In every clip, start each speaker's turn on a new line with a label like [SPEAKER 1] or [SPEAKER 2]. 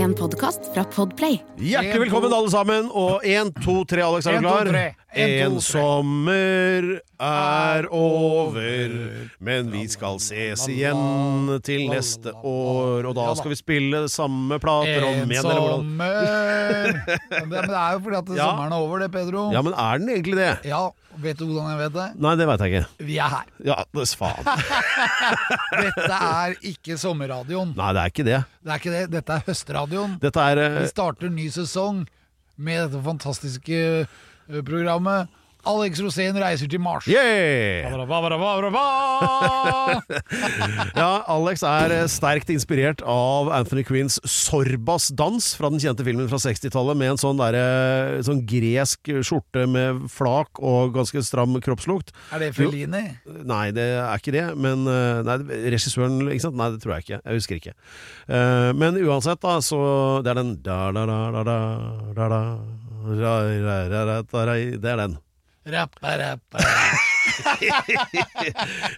[SPEAKER 1] En podkast fra Podplay.
[SPEAKER 2] Hjertelig velkommen, alle sammen. Og én, to, tre, Alex, er
[SPEAKER 3] En,
[SPEAKER 2] du
[SPEAKER 3] to,
[SPEAKER 2] klar?
[SPEAKER 3] tre. En, to,
[SPEAKER 2] En
[SPEAKER 3] tre.
[SPEAKER 2] sommer er over, men vi skal ses igjen til neste år. Og da skal vi spille samme plater om igjen, eller hvordan?
[SPEAKER 3] sommer Ja, Men det er jo fordi at
[SPEAKER 2] Ja.
[SPEAKER 3] sommeren er over, det, Pedro.
[SPEAKER 2] Ja, men er den egentlig det?
[SPEAKER 3] Ja, vet du hvordan jeg vet det?
[SPEAKER 2] Nei, det veit jeg ikke.
[SPEAKER 3] Vi er her.
[SPEAKER 2] Ja, det s- faen.
[SPEAKER 3] Dette er ikke sommerradioen.
[SPEAKER 2] Nei, det er ikke det.
[SPEAKER 3] Det er ikke det. Dette er høstradioen.
[SPEAKER 2] Dette er
[SPEAKER 3] Vi
[SPEAKER 2] eh,
[SPEAKER 3] starter ny sesong med dette fantastiske eh, programmet. Alex Rosén reiser til Mars.
[SPEAKER 2] Yeah!
[SPEAKER 3] Ba-ba-ba-ba-ba-ba!
[SPEAKER 2] Ja, Alex er eh, sterkt inspirert av Anthony Quinns Sorbas dans fra den kjente filmen fra 60-tallet, med en sånn, der, eh, sånn gresk skjorte med flak og ganske stram kroppslukt.
[SPEAKER 3] Er det Fellini?
[SPEAKER 2] Nei, det er ikke det. Men eh, nei, regissøren ikke sant? Nei, det tror jeg ikke. Jeg husker ikke. Eh, Men uansett, da, så Det er den da, da, da, da, da, da, da, ra, ra, ra, ra, da, ra, Det er den.
[SPEAKER 3] Rappa, rappa. rappa.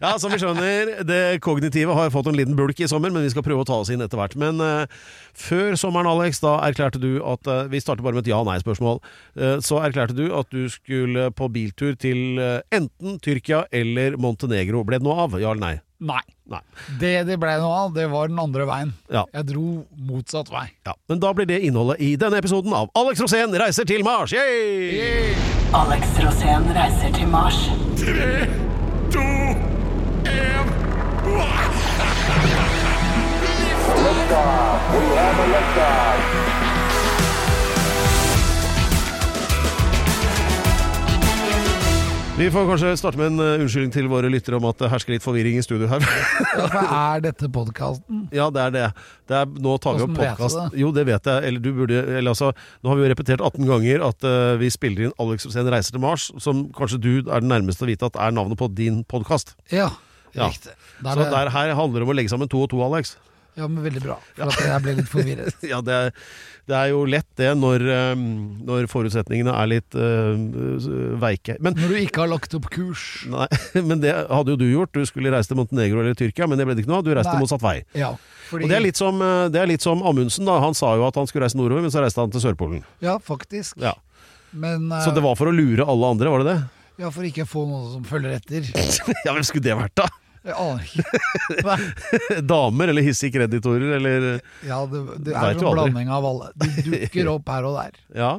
[SPEAKER 2] Ja, som vi skjønner, det kognitive har fått en liten bulk i sommer, men vi skal prøve å ta oss inn etter hvert. Men eh, før sommeren, Alex, da erklærte du at eh, Vi starter bare med et ja-nei-spørsmål. Eh, så erklærte du at du skulle på biltur til eh, enten Tyrkia eller Montenegro. Ble det noe av? Ja eller nei?
[SPEAKER 3] Nei.
[SPEAKER 2] Nei.
[SPEAKER 3] Det det blei noe av, det var den andre veien.
[SPEAKER 2] Ja.
[SPEAKER 3] Jeg dro motsatt vei.
[SPEAKER 2] ja. Men da blir det innholdet i denne episoden av Alex Rosén reiser til Mars! Yay!
[SPEAKER 4] Alex Rosén reiser til Mars.
[SPEAKER 2] Vi får kanskje starte med en eh, unnskyldning til våre lyttere om at det hersker litt forvirring i studio her.
[SPEAKER 3] Hvorfor er dette podkasten?
[SPEAKER 2] Ja, det er det. det er, nå tar vi opp
[SPEAKER 3] Hvordan vet du
[SPEAKER 2] podkast.
[SPEAKER 3] det?
[SPEAKER 2] Jo, det vet jeg. Eller du burde eller, altså, Nå har vi jo repetert 18 ganger at eh, vi spiller inn Alex Rosén reiser til Mars, som kanskje du er den nærmeste å vite at er navnet på din podkast.
[SPEAKER 3] Ja,
[SPEAKER 2] Ja.
[SPEAKER 3] riktig.
[SPEAKER 2] Så
[SPEAKER 3] Der er-
[SPEAKER 2] der her handler det om å legge sammen to og to, Alex.
[SPEAKER 3] Ja, men veldig bra. For at jeg ble litt forvirret.
[SPEAKER 2] Ja, det er, det er jo lett det når, eh, når forutsetningene er litt eh, veike. Men
[SPEAKER 3] Når du ikke har lagt opp kurs.
[SPEAKER 2] Nei, men det hadde jo du gjort. Du skulle reise til Montenegro eller Tyrkia, men det ble det ikke noe av. Du reiste
[SPEAKER 3] Nei.
[SPEAKER 2] motsatt vei.
[SPEAKER 3] Ja, fordi,
[SPEAKER 2] Og det er, litt som, eh, det er litt som Amundsen, da. Han sa jo at han skulle reise nordover, men så reiste han til Sørpolen.
[SPEAKER 3] ja faktisk.
[SPEAKER 2] Ja.
[SPEAKER 3] Men eh,
[SPEAKER 2] Så det var for å lure alle andre, var det det?
[SPEAKER 3] ja, for ikke å få noen som følger etter.
[SPEAKER 2] Ja, hvem skulle det vært, da?
[SPEAKER 3] Jeg aner ikke. Nei.
[SPEAKER 2] Damer eller hissige kreditorer eller
[SPEAKER 3] Ja, det,
[SPEAKER 2] Vet
[SPEAKER 3] det er
[SPEAKER 2] jo
[SPEAKER 3] en
[SPEAKER 2] aldri.
[SPEAKER 3] blanding av alle. De dukker opp her og der.
[SPEAKER 2] Ja.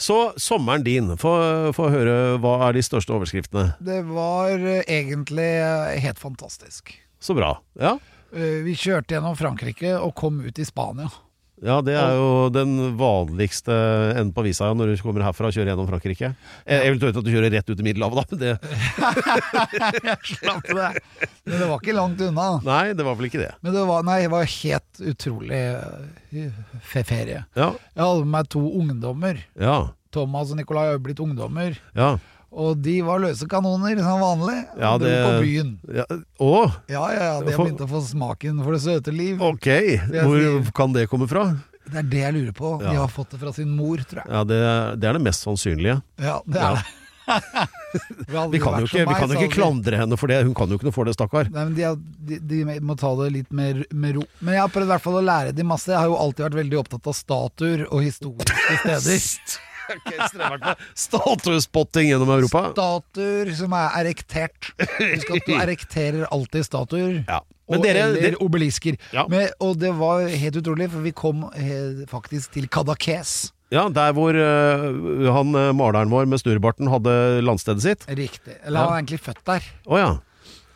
[SPEAKER 2] Så sommeren din. Få få høre hva er de største overskriftene.
[SPEAKER 3] Det var eh, egentlig eh, helt fantastisk.
[SPEAKER 2] Så bra. Ja.
[SPEAKER 3] Eh, Vi kjørte gjennom Frankrike og kom ut i Spania.
[SPEAKER 2] Ja, det er jo den vanligste enden på visa ja, når du kommer herfra og kjører gjennom Frankrike. Eh, Eventuelt at du kjører rett ut i Middelhavet, da. Men det,
[SPEAKER 3] Slapp det. Men det var ikke langt unna.
[SPEAKER 2] nei, det var vel ikke det.
[SPEAKER 3] Men det var, nei, det var helt utrolig eh, fe- ferie.
[SPEAKER 2] Ja,
[SPEAKER 3] Jeg hadde med meg to ungdommer.
[SPEAKER 2] ja,
[SPEAKER 3] Thomas og Nikolai har jo blitt ungdommer.
[SPEAKER 2] ja.
[SPEAKER 3] Og de var løse kanoner, som vanlig.
[SPEAKER 2] Ja,
[SPEAKER 3] og dro
[SPEAKER 2] det-
[SPEAKER 3] på byen.
[SPEAKER 2] ja. Å,
[SPEAKER 3] Ja, ja, ja, de har
[SPEAKER 2] For-
[SPEAKER 3] begynt å få smaken for det søte liv.
[SPEAKER 2] ok.
[SPEAKER 3] er
[SPEAKER 2] Hvor
[SPEAKER 3] fint.
[SPEAKER 2] kan det komme fra?
[SPEAKER 3] Det er det jeg lurer på.
[SPEAKER 2] Ja.
[SPEAKER 3] De har fått det fra sin mor, tror jeg.
[SPEAKER 2] Ja, det, det er det mest sannsynlige.
[SPEAKER 3] Ja, det
[SPEAKER 2] Ja.
[SPEAKER 3] er det. Vi hadde
[SPEAKER 2] Vi kan jo
[SPEAKER 3] vært som
[SPEAKER 2] ikke, vi kan
[SPEAKER 3] meg, så
[SPEAKER 2] ikke
[SPEAKER 3] hadde vi-
[SPEAKER 2] klandre henne for det. Hun kan jo ikke noe for det, stakkar.
[SPEAKER 3] Nei, men de, er- de, de må ta det litt mer med ro. Men jeg har prøvd i hvert fall å lære de masse. Jeg har jo alltid vært veldig opptatt av statuer og historiske steder.
[SPEAKER 2] Statuespotting gjennom Europa.
[SPEAKER 3] Statuer som er erektert. Husk at du erekterer alltid statuer.
[SPEAKER 2] Ja.
[SPEAKER 3] Og,
[SPEAKER 2] Men dere,
[SPEAKER 3] eller
[SPEAKER 2] dere
[SPEAKER 3] obelisker.
[SPEAKER 2] Ja.
[SPEAKER 3] Men, og det var helt utrolig, for vi kom eh, faktisk til Kadakes.
[SPEAKER 2] Ja, der hvor eh, han eh, maleren vår med snurrebarten hadde landstedet sitt.
[SPEAKER 3] Riktig. Eller
[SPEAKER 2] Ja.
[SPEAKER 3] han var egentlig født der,
[SPEAKER 2] Å ja.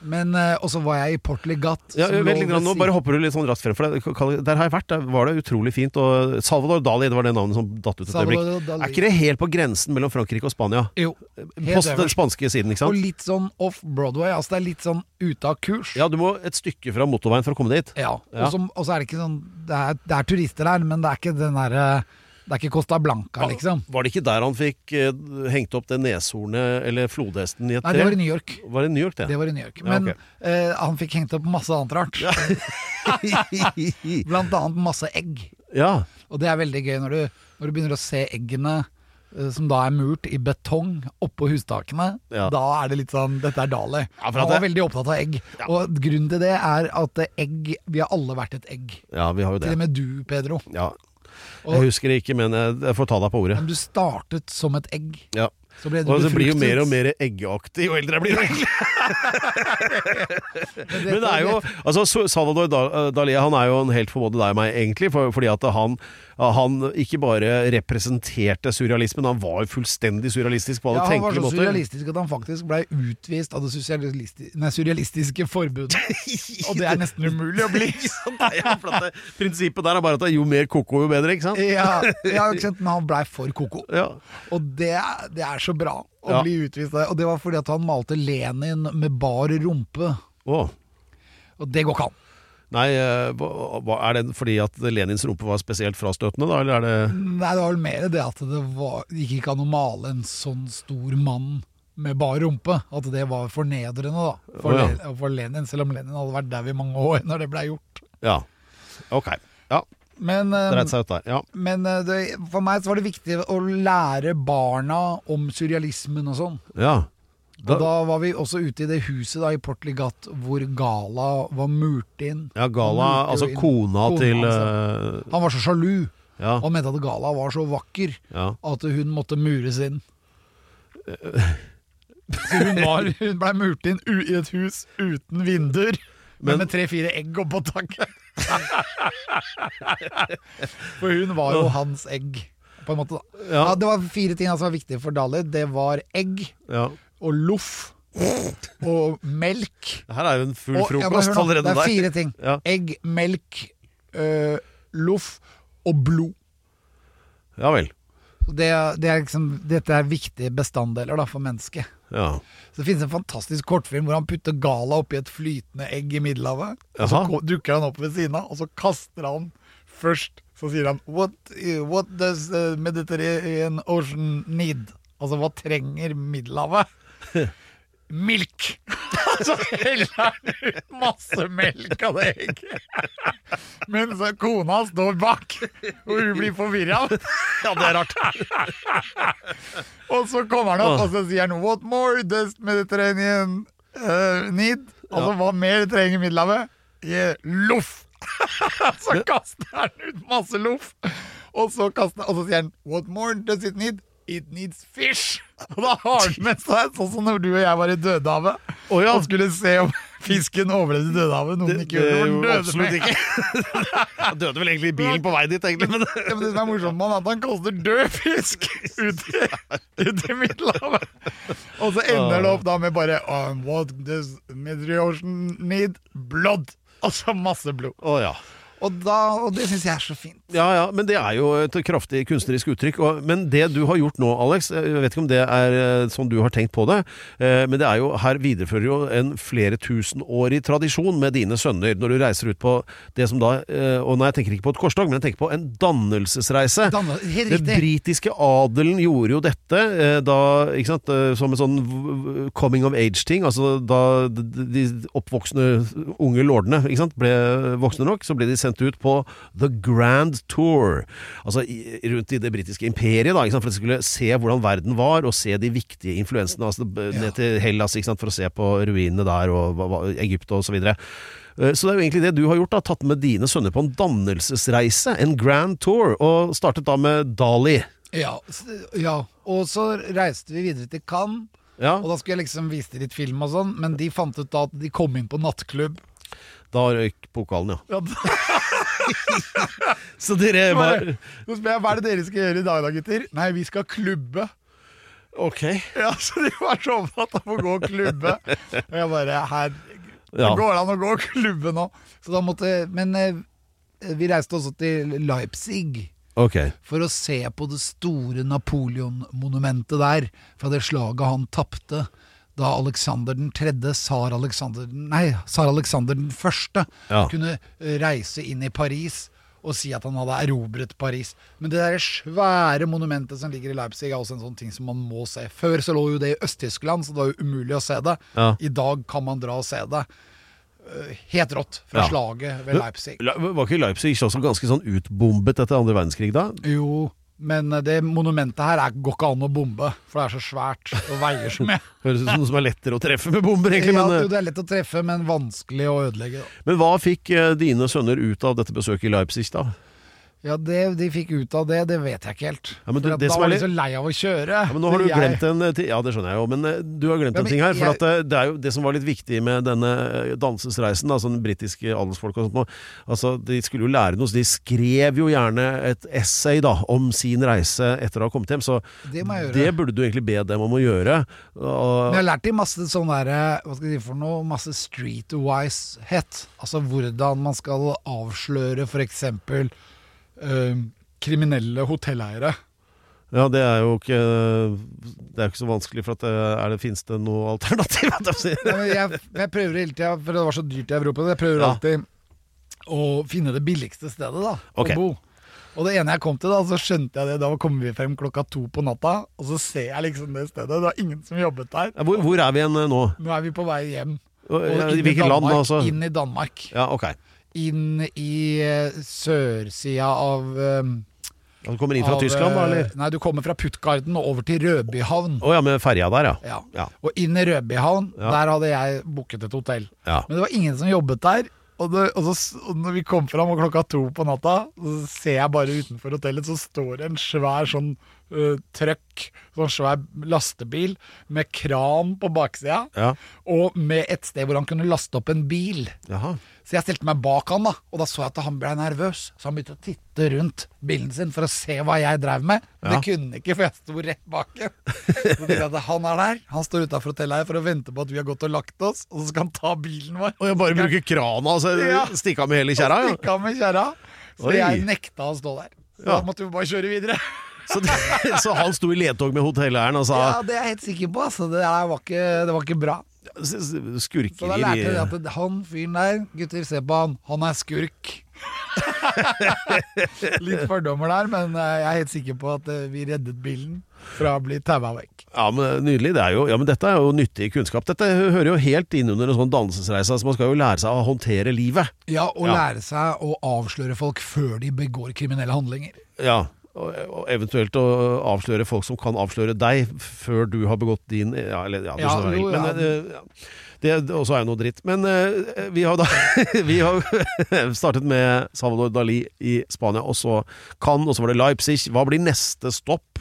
[SPEAKER 3] Men eh, også var jeg i Port Legat.
[SPEAKER 2] Ja,
[SPEAKER 3] som
[SPEAKER 2] vent
[SPEAKER 3] lå
[SPEAKER 2] litt, grann,
[SPEAKER 3] ved
[SPEAKER 2] nå
[SPEAKER 3] siden-
[SPEAKER 2] bare hopper du litt sånn raskt frem, for det, Kalle, der har jeg vært. Der var det utrolig fint. Og Salvador Dali det var det navnet som datt ut et
[SPEAKER 3] Salvador
[SPEAKER 2] øyeblikk.
[SPEAKER 3] Dali.
[SPEAKER 2] Er ikke det helt på grensen mellom Frankrike og Spania?
[SPEAKER 3] Jo.
[SPEAKER 2] På den
[SPEAKER 3] Helt øverst.
[SPEAKER 2] spanske siden, ikke
[SPEAKER 3] Og
[SPEAKER 2] sant?
[SPEAKER 3] litt sånn off-Broadway. Altså det er litt sånn ute av kurs.
[SPEAKER 2] Ja, du må et stykke fra motorveien for å komme dit.
[SPEAKER 3] Ja,
[SPEAKER 2] Ja.
[SPEAKER 3] Og, som, og så er det ikke sånn Det er, det er turister der, men det er ikke den derre Det er ikke Costa Blanca, liksom.
[SPEAKER 2] Var det ikke der han fikk eh, hengt opp det neshornet eller flodhesten i et
[SPEAKER 3] Nei,
[SPEAKER 2] tre?
[SPEAKER 3] det var i New York.
[SPEAKER 2] Var det i New York, det?
[SPEAKER 3] Det var i New York.
[SPEAKER 2] Ja,
[SPEAKER 3] Men
[SPEAKER 2] ok.
[SPEAKER 3] eh, han fikk hengt opp masse annet rart. Blant annet masse egg.
[SPEAKER 2] ja.
[SPEAKER 3] Og det er veldig gøy når du, når du begynner å se eggene eh, som da er murt i betong oppå hustakene.
[SPEAKER 2] Ja.
[SPEAKER 3] Da er det litt sånn Dette er Dali.
[SPEAKER 2] Ja, for at
[SPEAKER 3] Han var
[SPEAKER 2] det-
[SPEAKER 3] veldig opptatt av egg. Og grunnen til det er at eh, egg Vi har alle vært et egg.
[SPEAKER 2] ja, vi har jo det.
[SPEAKER 3] Til og med du, Pedro.
[SPEAKER 2] Ja.
[SPEAKER 3] Og-
[SPEAKER 2] Jeg husker det ikke, men jeg, jeg får ta deg på ordet.
[SPEAKER 3] Men du startet som et egg.
[SPEAKER 2] Ja.
[SPEAKER 3] Så ble du
[SPEAKER 2] Og det blir jo
[SPEAKER 3] befruktet.
[SPEAKER 2] mer og mer eggeaktig jo eldre jeg blir. egentlig. Men det er jo altså, Sa- Salvador Da- eh, Dali han er jo en helt for både deg og meg, egentlig. For, fordi at han, eh, han ikke bare representerte surrealismen, han var jo fullstendig surrealistisk på alle
[SPEAKER 3] ja, han var
[SPEAKER 2] tenkelige
[SPEAKER 3] så
[SPEAKER 2] måter.
[SPEAKER 3] surrealistisk at han faktisk ble utvist av det sosialisti- nei, surrealistiske forbundet. Og det er nesten umulig å bli.
[SPEAKER 2] Ikke sant? Det er jo for at det- Prinsippet der er bare at det er jo mer koko, jo bedre, ikke sant?
[SPEAKER 3] Ja, ja ikke sant? men han blei for koko.
[SPEAKER 2] Ja.
[SPEAKER 3] Og det, er- det er så bra å
[SPEAKER 2] Ja.
[SPEAKER 3] bli utvist av. Og det var fordi at han malte Lenin med bar rumpe.
[SPEAKER 2] Åh.
[SPEAKER 3] Og det går ikke an.
[SPEAKER 2] Nei, eh, hva, hva- er det fordi at Lenins rumpe var spesielt frastøtende, da? Eller er det
[SPEAKER 3] Nei, det var vel mer det at det var, det gikk ikke an å male en sånn stor mann med bar rumpe. At det var fornedrende da, for,
[SPEAKER 2] Å, ja.
[SPEAKER 3] Le- for Lenin, selv om Lenin hadde vært dau i mange år når det blei gjort.
[SPEAKER 2] Ja. Ok. Ja,
[SPEAKER 3] Men, eh,
[SPEAKER 2] det reit seg ut der. Ja.
[SPEAKER 3] men eh, det, for meg så var det viktig å lære barna om surrealismen og sånn.
[SPEAKER 2] ja.
[SPEAKER 3] Og da var vi også ute i det huset da, i Port Ligat hvor Gala var murt inn.
[SPEAKER 2] Ja, Gala,
[SPEAKER 3] Han lurte Mm, jo
[SPEAKER 2] altså
[SPEAKER 3] inn
[SPEAKER 2] kona
[SPEAKER 3] kona altså.
[SPEAKER 2] til
[SPEAKER 3] hans,
[SPEAKER 2] eh,
[SPEAKER 3] Han var så sjalu.
[SPEAKER 2] Ja.
[SPEAKER 3] Han mente at Gala var så vakker
[SPEAKER 2] ja.
[SPEAKER 3] at hun måtte mures inn. Så hun, var, hun ble murt inn u- i et hus uten vinduer, men,
[SPEAKER 2] Men-
[SPEAKER 3] med tre-fire egg oppå taket. For hun var jo hans egg, på en måte. da.
[SPEAKER 2] Ja.
[SPEAKER 3] Ja, det var fire ting som var viktige for Dali. Det var egg
[SPEAKER 2] ja.
[SPEAKER 3] og loff og melk.
[SPEAKER 2] Det her er jo en full
[SPEAKER 3] Og, ja, men
[SPEAKER 2] frokost
[SPEAKER 3] hør nå,
[SPEAKER 2] allerede
[SPEAKER 3] det
[SPEAKER 2] der.
[SPEAKER 3] er fire ting.
[SPEAKER 2] Ja.
[SPEAKER 3] Egg, melk, øh, loff og blod.
[SPEAKER 2] Ja vel.
[SPEAKER 3] Så Det, det er liksom, dette er viktige bestanddeler da, for mennesket.
[SPEAKER 2] Ja.
[SPEAKER 3] Så Det finnes en fantastisk kortfilm hvor han putter Gala oppi et flytende egg i Middelhavet. Og så
[SPEAKER 2] Jaha.
[SPEAKER 3] ko- dukker han opp ved siden av, og så kaster han først Så sier han What, eh, what does the Mediterranean Ocean need? Altså, hva trenger Middelhavet? Milk! Så heller han ut masse melk av det egget. Mens kona står bak, og hun blir forvirra. Ja, det er rart. Og så kommer han opp, og så sier han What more does Mediterranean eh, need? Altså, hva mer trenger Middelhavet? Yeah, loff! så kaster han ut masse loff. Og så, kaster, og så sier han What more does it need? It needs fish! Og da har han med seg, sånn som når du og jeg var i Dødehavet
[SPEAKER 2] Å ja.
[SPEAKER 3] og skulle se om fisken overlevde i Dødehavet. Noen ikke
[SPEAKER 2] det er
[SPEAKER 3] gjorde det,
[SPEAKER 2] jo
[SPEAKER 3] for den
[SPEAKER 2] absolutt
[SPEAKER 3] døde med.
[SPEAKER 2] Han døde vel egentlig i bilen på vei dit, egentlig. Men
[SPEAKER 3] Ja, men det som er morsomt med han, er at han kaster død fisk ut i, ut i Middelhavet. Og så ender det opp da med bare um, What does Middelhavet Ocean need? Blood! Altså masse blod.
[SPEAKER 2] Å ja.
[SPEAKER 3] Og, da, og det syns jeg er så fint.
[SPEAKER 2] Ja ja, men det er jo et kraftig kunstnerisk uttrykk. Og, men det du har gjort nå, Alex, jeg vet ikke om det er eh, sånn du har tenkt på det, eh, men det er jo, her viderefører jo en flere tusenårig tradisjon med dine sønner, når du reiser ut på det som da eh, Og nei, jeg tenker ikke på et korstog, men jeg tenker på en dannelsesreise.
[SPEAKER 3] Danne, helt
[SPEAKER 2] Den
[SPEAKER 3] riktig.
[SPEAKER 2] britiske adelen gjorde jo dette eh, da, ikke sant, eh, som en sånn v- v- coming of age-ting. Altså da d- d- de oppvoksende unge lordene ikke sant, ble voksne nok, så ble de sendt ut på The Grand Tour. Altså i, rundt i det britiske imperiet, da, ikke sant, for de skulle se hvordan verden var, og se de viktige influensene. Altså, b-
[SPEAKER 3] Ja.
[SPEAKER 2] Ned til Hellas ikke sant, for å se på ruinene der, og hva- hva- Egypt og så videre. Eh, Så det er jo egentlig det du har gjort, da, tatt med dine sønner på en dannelsesreise, en grand tour, og startet da med Dali.
[SPEAKER 3] Ja, s- ja. Og så reiste vi videre til Cannes.
[SPEAKER 2] Ja,
[SPEAKER 3] Og da skulle jeg liksom vise til litt film og sånn, men de fant ut da at de kom inn på nattklubb.
[SPEAKER 2] da røyk pokalen, ja.
[SPEAKER 3] Ja,
[SPEAKER 2] Så dere var
[SPEAKER 3] Bare- Så spør jeg hva er det dere skal gjøre i dag da, gutter? Nei, vi skal klubbe.
[SPEAKER 2] Ok.
[SPEAKER 3] Ja, så de var så opptatt av å gå og klubbe. Og jeg bare Herregud,
[SPEAKER 2] Ja.
[SPEAKER 3] går det an å gå og klubbe nå? Så da måtte Men eh, vi reiste også til Leipzig
[SPEAKER 2] Ok.
[SPEAKER 3] for å se på det store Napoleon-monumentet der, fra det slaget han tapte da Alexander den tredje, tsar Alexander, den- nei, tsar Alexander den første,
[SPEAKER 2] Ja.
[SPEAKER 3] kunne eh, reise inn i Paris og si at han hadde erobret Paris. Men det der svære monumentet som ligger i Leipzig, er også en sånn ting som man må se. Før så lå jo det i Øst-Tyskland, så det var jo umulig å se det.
[SPEAKER 2] Ja.
[SPEAKER 3] I dag kan man dra og se det. Eh, Helt rått fra
[SPEAKER 2] Ja.
[SPEAKER 3] slaget ved Leipzig.
[SPEAKER 2] Le- Var ikke Leipzig ikke også ganske sånn utbombet etter andre verdenskrig da?
[SPEAKER 3] Jo, men det monumentet her er, går ikke an å bombe, for det er så svært og veier så mye.
[SPEAKER 2] Høres ut som noe som er lettere å treffe med bomber, egentlig.
[SPEAKER 3] Ja,
[SPEAKER 2] Men, eh,
[SPEAKER 3] jo, det er lett å treffe, men vanskelig å ødelegge. da.
[SPEAKER 2] men hva fikk eh, dine sønner ut av dette besøket i Leipzig, da?
[SPEAKER 3] Ja, Det de fikk ut av det, det vet jeg ikke helt.
[SPEAKER 2] Ja, men du,
[SPEAKER 3] For at
[SPEAKER 2] det
[SPEAKER 3] da
[SPEAKER 2] som
[SPEAKER 3] var
[SPEAKER 2] er
[SPEAKER 3] de så lei av å kjøre.
[SPEAKER 2] Ja, men nå har du
[SPEAKER 3] Så jeg-
[SPEAKER 2] glemt en eh, ti- Ja, det skjønner jeg jo, men eh, du har glemt
[SPEAKER 3] Ja,
[SPEAKER 2] en
[SPEAKER 3] men
[SPEAKER 2] ting her. For
[SPEAKER 3] jeg-
[SPEAKER 2] at eh, det er jo det som var litt viktig med denne eh, dansesreisen, altså den britiske adelsfolk og sånt noe. Altså, de skulle jo lære noe, så de skrev jo gjerne et essay da, om sin reise etter å ha kommet hjem. Så
[SPEAKER 3] Det må jeg gjøre.
[SPEAKER 2] det burde du egentlig be dem om å gjøre.
[SPEAKER 3] Men jeg
[SPEAKER 2] Og,
[SPEAKER 3] har lært de masse sånn derre Hva skal jeg si for noe? Masse streetwise-het. Altså hvordan man skal avsløre f.eks. Uh, kriminelle hotelleiere.
[SPEAKER 2] ja, det er jo ikke Det er jo ikke så vanskelig, for at eh, er det, finnes det noe alternativ? holdt jeg på å si?
[SPEAKER 3] Ja, men jeg, jeg prøver hele tida, for det var så dyrt i Europa, jeg prøver
[SPEAKER 2] Ja.
[SPEAKER 3] alltid å finne det billigste stedet da,
[SPEAKER 2] Ok.
[SPEAKER 3] å bo. Og det ene jeg kom til, da, så skjønte jeg det. Da kom vi frem klokka to på natta, og så ser jeg liksom det stedet. Det var ingen som jobbet der.
[SPEAKER 2] Ja, Hvor, hvor er vi igjen eh, nå?
[SPEAKER 3] Nå er vi på vei hjem.
[SPEAKER 2] Og,
[SPEAKER 3] Og
[SPEAKER 2] ja, I
[SPEAKER 3] inn i
[SPEAKER 2] hvilket land,
[SPEAKER 3] Danmark,
[SPEAKER 2] altså?
[SPEAKER 3] Inn i Danmark.
[SPEAKER 2] Ja, ok.
[SPEAKER 3] Inn i eh, sørsida av eh,
[SPEAKER 2] Du kommer inn fra
[SPEAKER 3] av,
[SPEAKER 2] Tyskland, da,
[SPEAKER 3] eh,
[SPEAKER 2] eller?
[SPEAKER 3] Nei, du kommer fra Puttgarden og over til Rødbyhavn.
[SPEAKER 2] Å ja, med ferja der, ja.
[SPEAKER 3] Ja.
[SPEAKER 2] Ja.
[SPEAKER 3] Og inn i Rødbyhavn,
[SPEAKER 2] Ja.
[SPEAKER 3] der hadde jeg booket et hotell.
[SPEAKER 2] ja.
[SPEAKER 3] Men det var ingen som jobbet der. Og, det, og, så, og når vi kom fram og klokka to på natta, så ser jeg bare utenfor hotellet, så står det en svær sånn uh, trøkk, sånn svær lastebil med kran på baksida,
[SPEAKER 2] Ja.
[SPEAKER 3] og med et sted hvor han kunne laste opp en bil.
[SPEAKER 2] Jaha.
[SPEAKER 3] Så jeg stilte meg bak han, da, og da så jeg at han ble nervøs. Så han begynte å titte rundt bilen sin for å se hva jeg drev med. Men
[SPEAKER 2] Ja.
[SPEAKER 3] det kunne han ikke, for jeg sto rett bak ham. Så tenkte jeg at han er der, han står utafor hotellet her for å vente på at vi har gått og lagt oss, og så skal han ta bilen vår.
[SPEAKER 2] Og jeg bare bruker krana og så
[SPEAKER 3] Ja.
[SPEAKER 2] stikke av med hele kjerra?
[SPEAKER 3] Og
[SPEAKER 2] Ja.
[SPEAKER 3] stikk av med kjerra. Så
[SPEAKER 2] Oi.
[SPEAKER 3] jeg nekta å stå der. Så
[SPEAKER 2] Ja.
[SPEAKER 3] da måtte vi bare kjøre videre.
[SPEAKER 2] Så, det- så han sto i ledtog med hotelleieren og sa
[SPEAKER 3] Ja, det er jeg helt sikker på. Altså. Det, der var ikke, det var ikke bra.
[SPEAKER 2] s- s-
[SPEAKER 3] Så da
[SPEAKER 2] skurkerier
[SPEAKER 3] lærte jeg
[SPEAKER 2] i
[SPEAKER 3] at han fyren der, gutter, se på han, han er skurk. Litt fordommer der, men eh, jeg er helt sikker på at eh, vi reddet bilen fra å bli taua vekk.
[SPEAKER 2] Ja, men Nydelig. Det er jo, ja, men dette er jo nyttig kunnskap. Dette hører jo helt inn under en sånn dannelsesreise. Altså, man skal jo lære seg å håndtere livet.
[SPEAKER 3] Ja, å
[SPEAKER 2] Ja.
[SPEAKER 3] lære seg å avsløre folk før de begår kriminelle handlinger.
[SPEAKER 2] Ja, og, og eventuelt å avsløre folk som kan avsløre deg, før du har begått din Ja, eller, ja, du
[SPEAKER 3] Ja,
[SPEAKER 2] skjønner hva jeg
[SPEAKER 3] jo,
[SPEAKER 2] vil. Men, eh, ja. Det det også er jo noe dritt. Men eh, vi har da Vi har startet med Salvador Dali i Spania, og så Cannes, og så var det Leipzig. Hva blir neste stopp?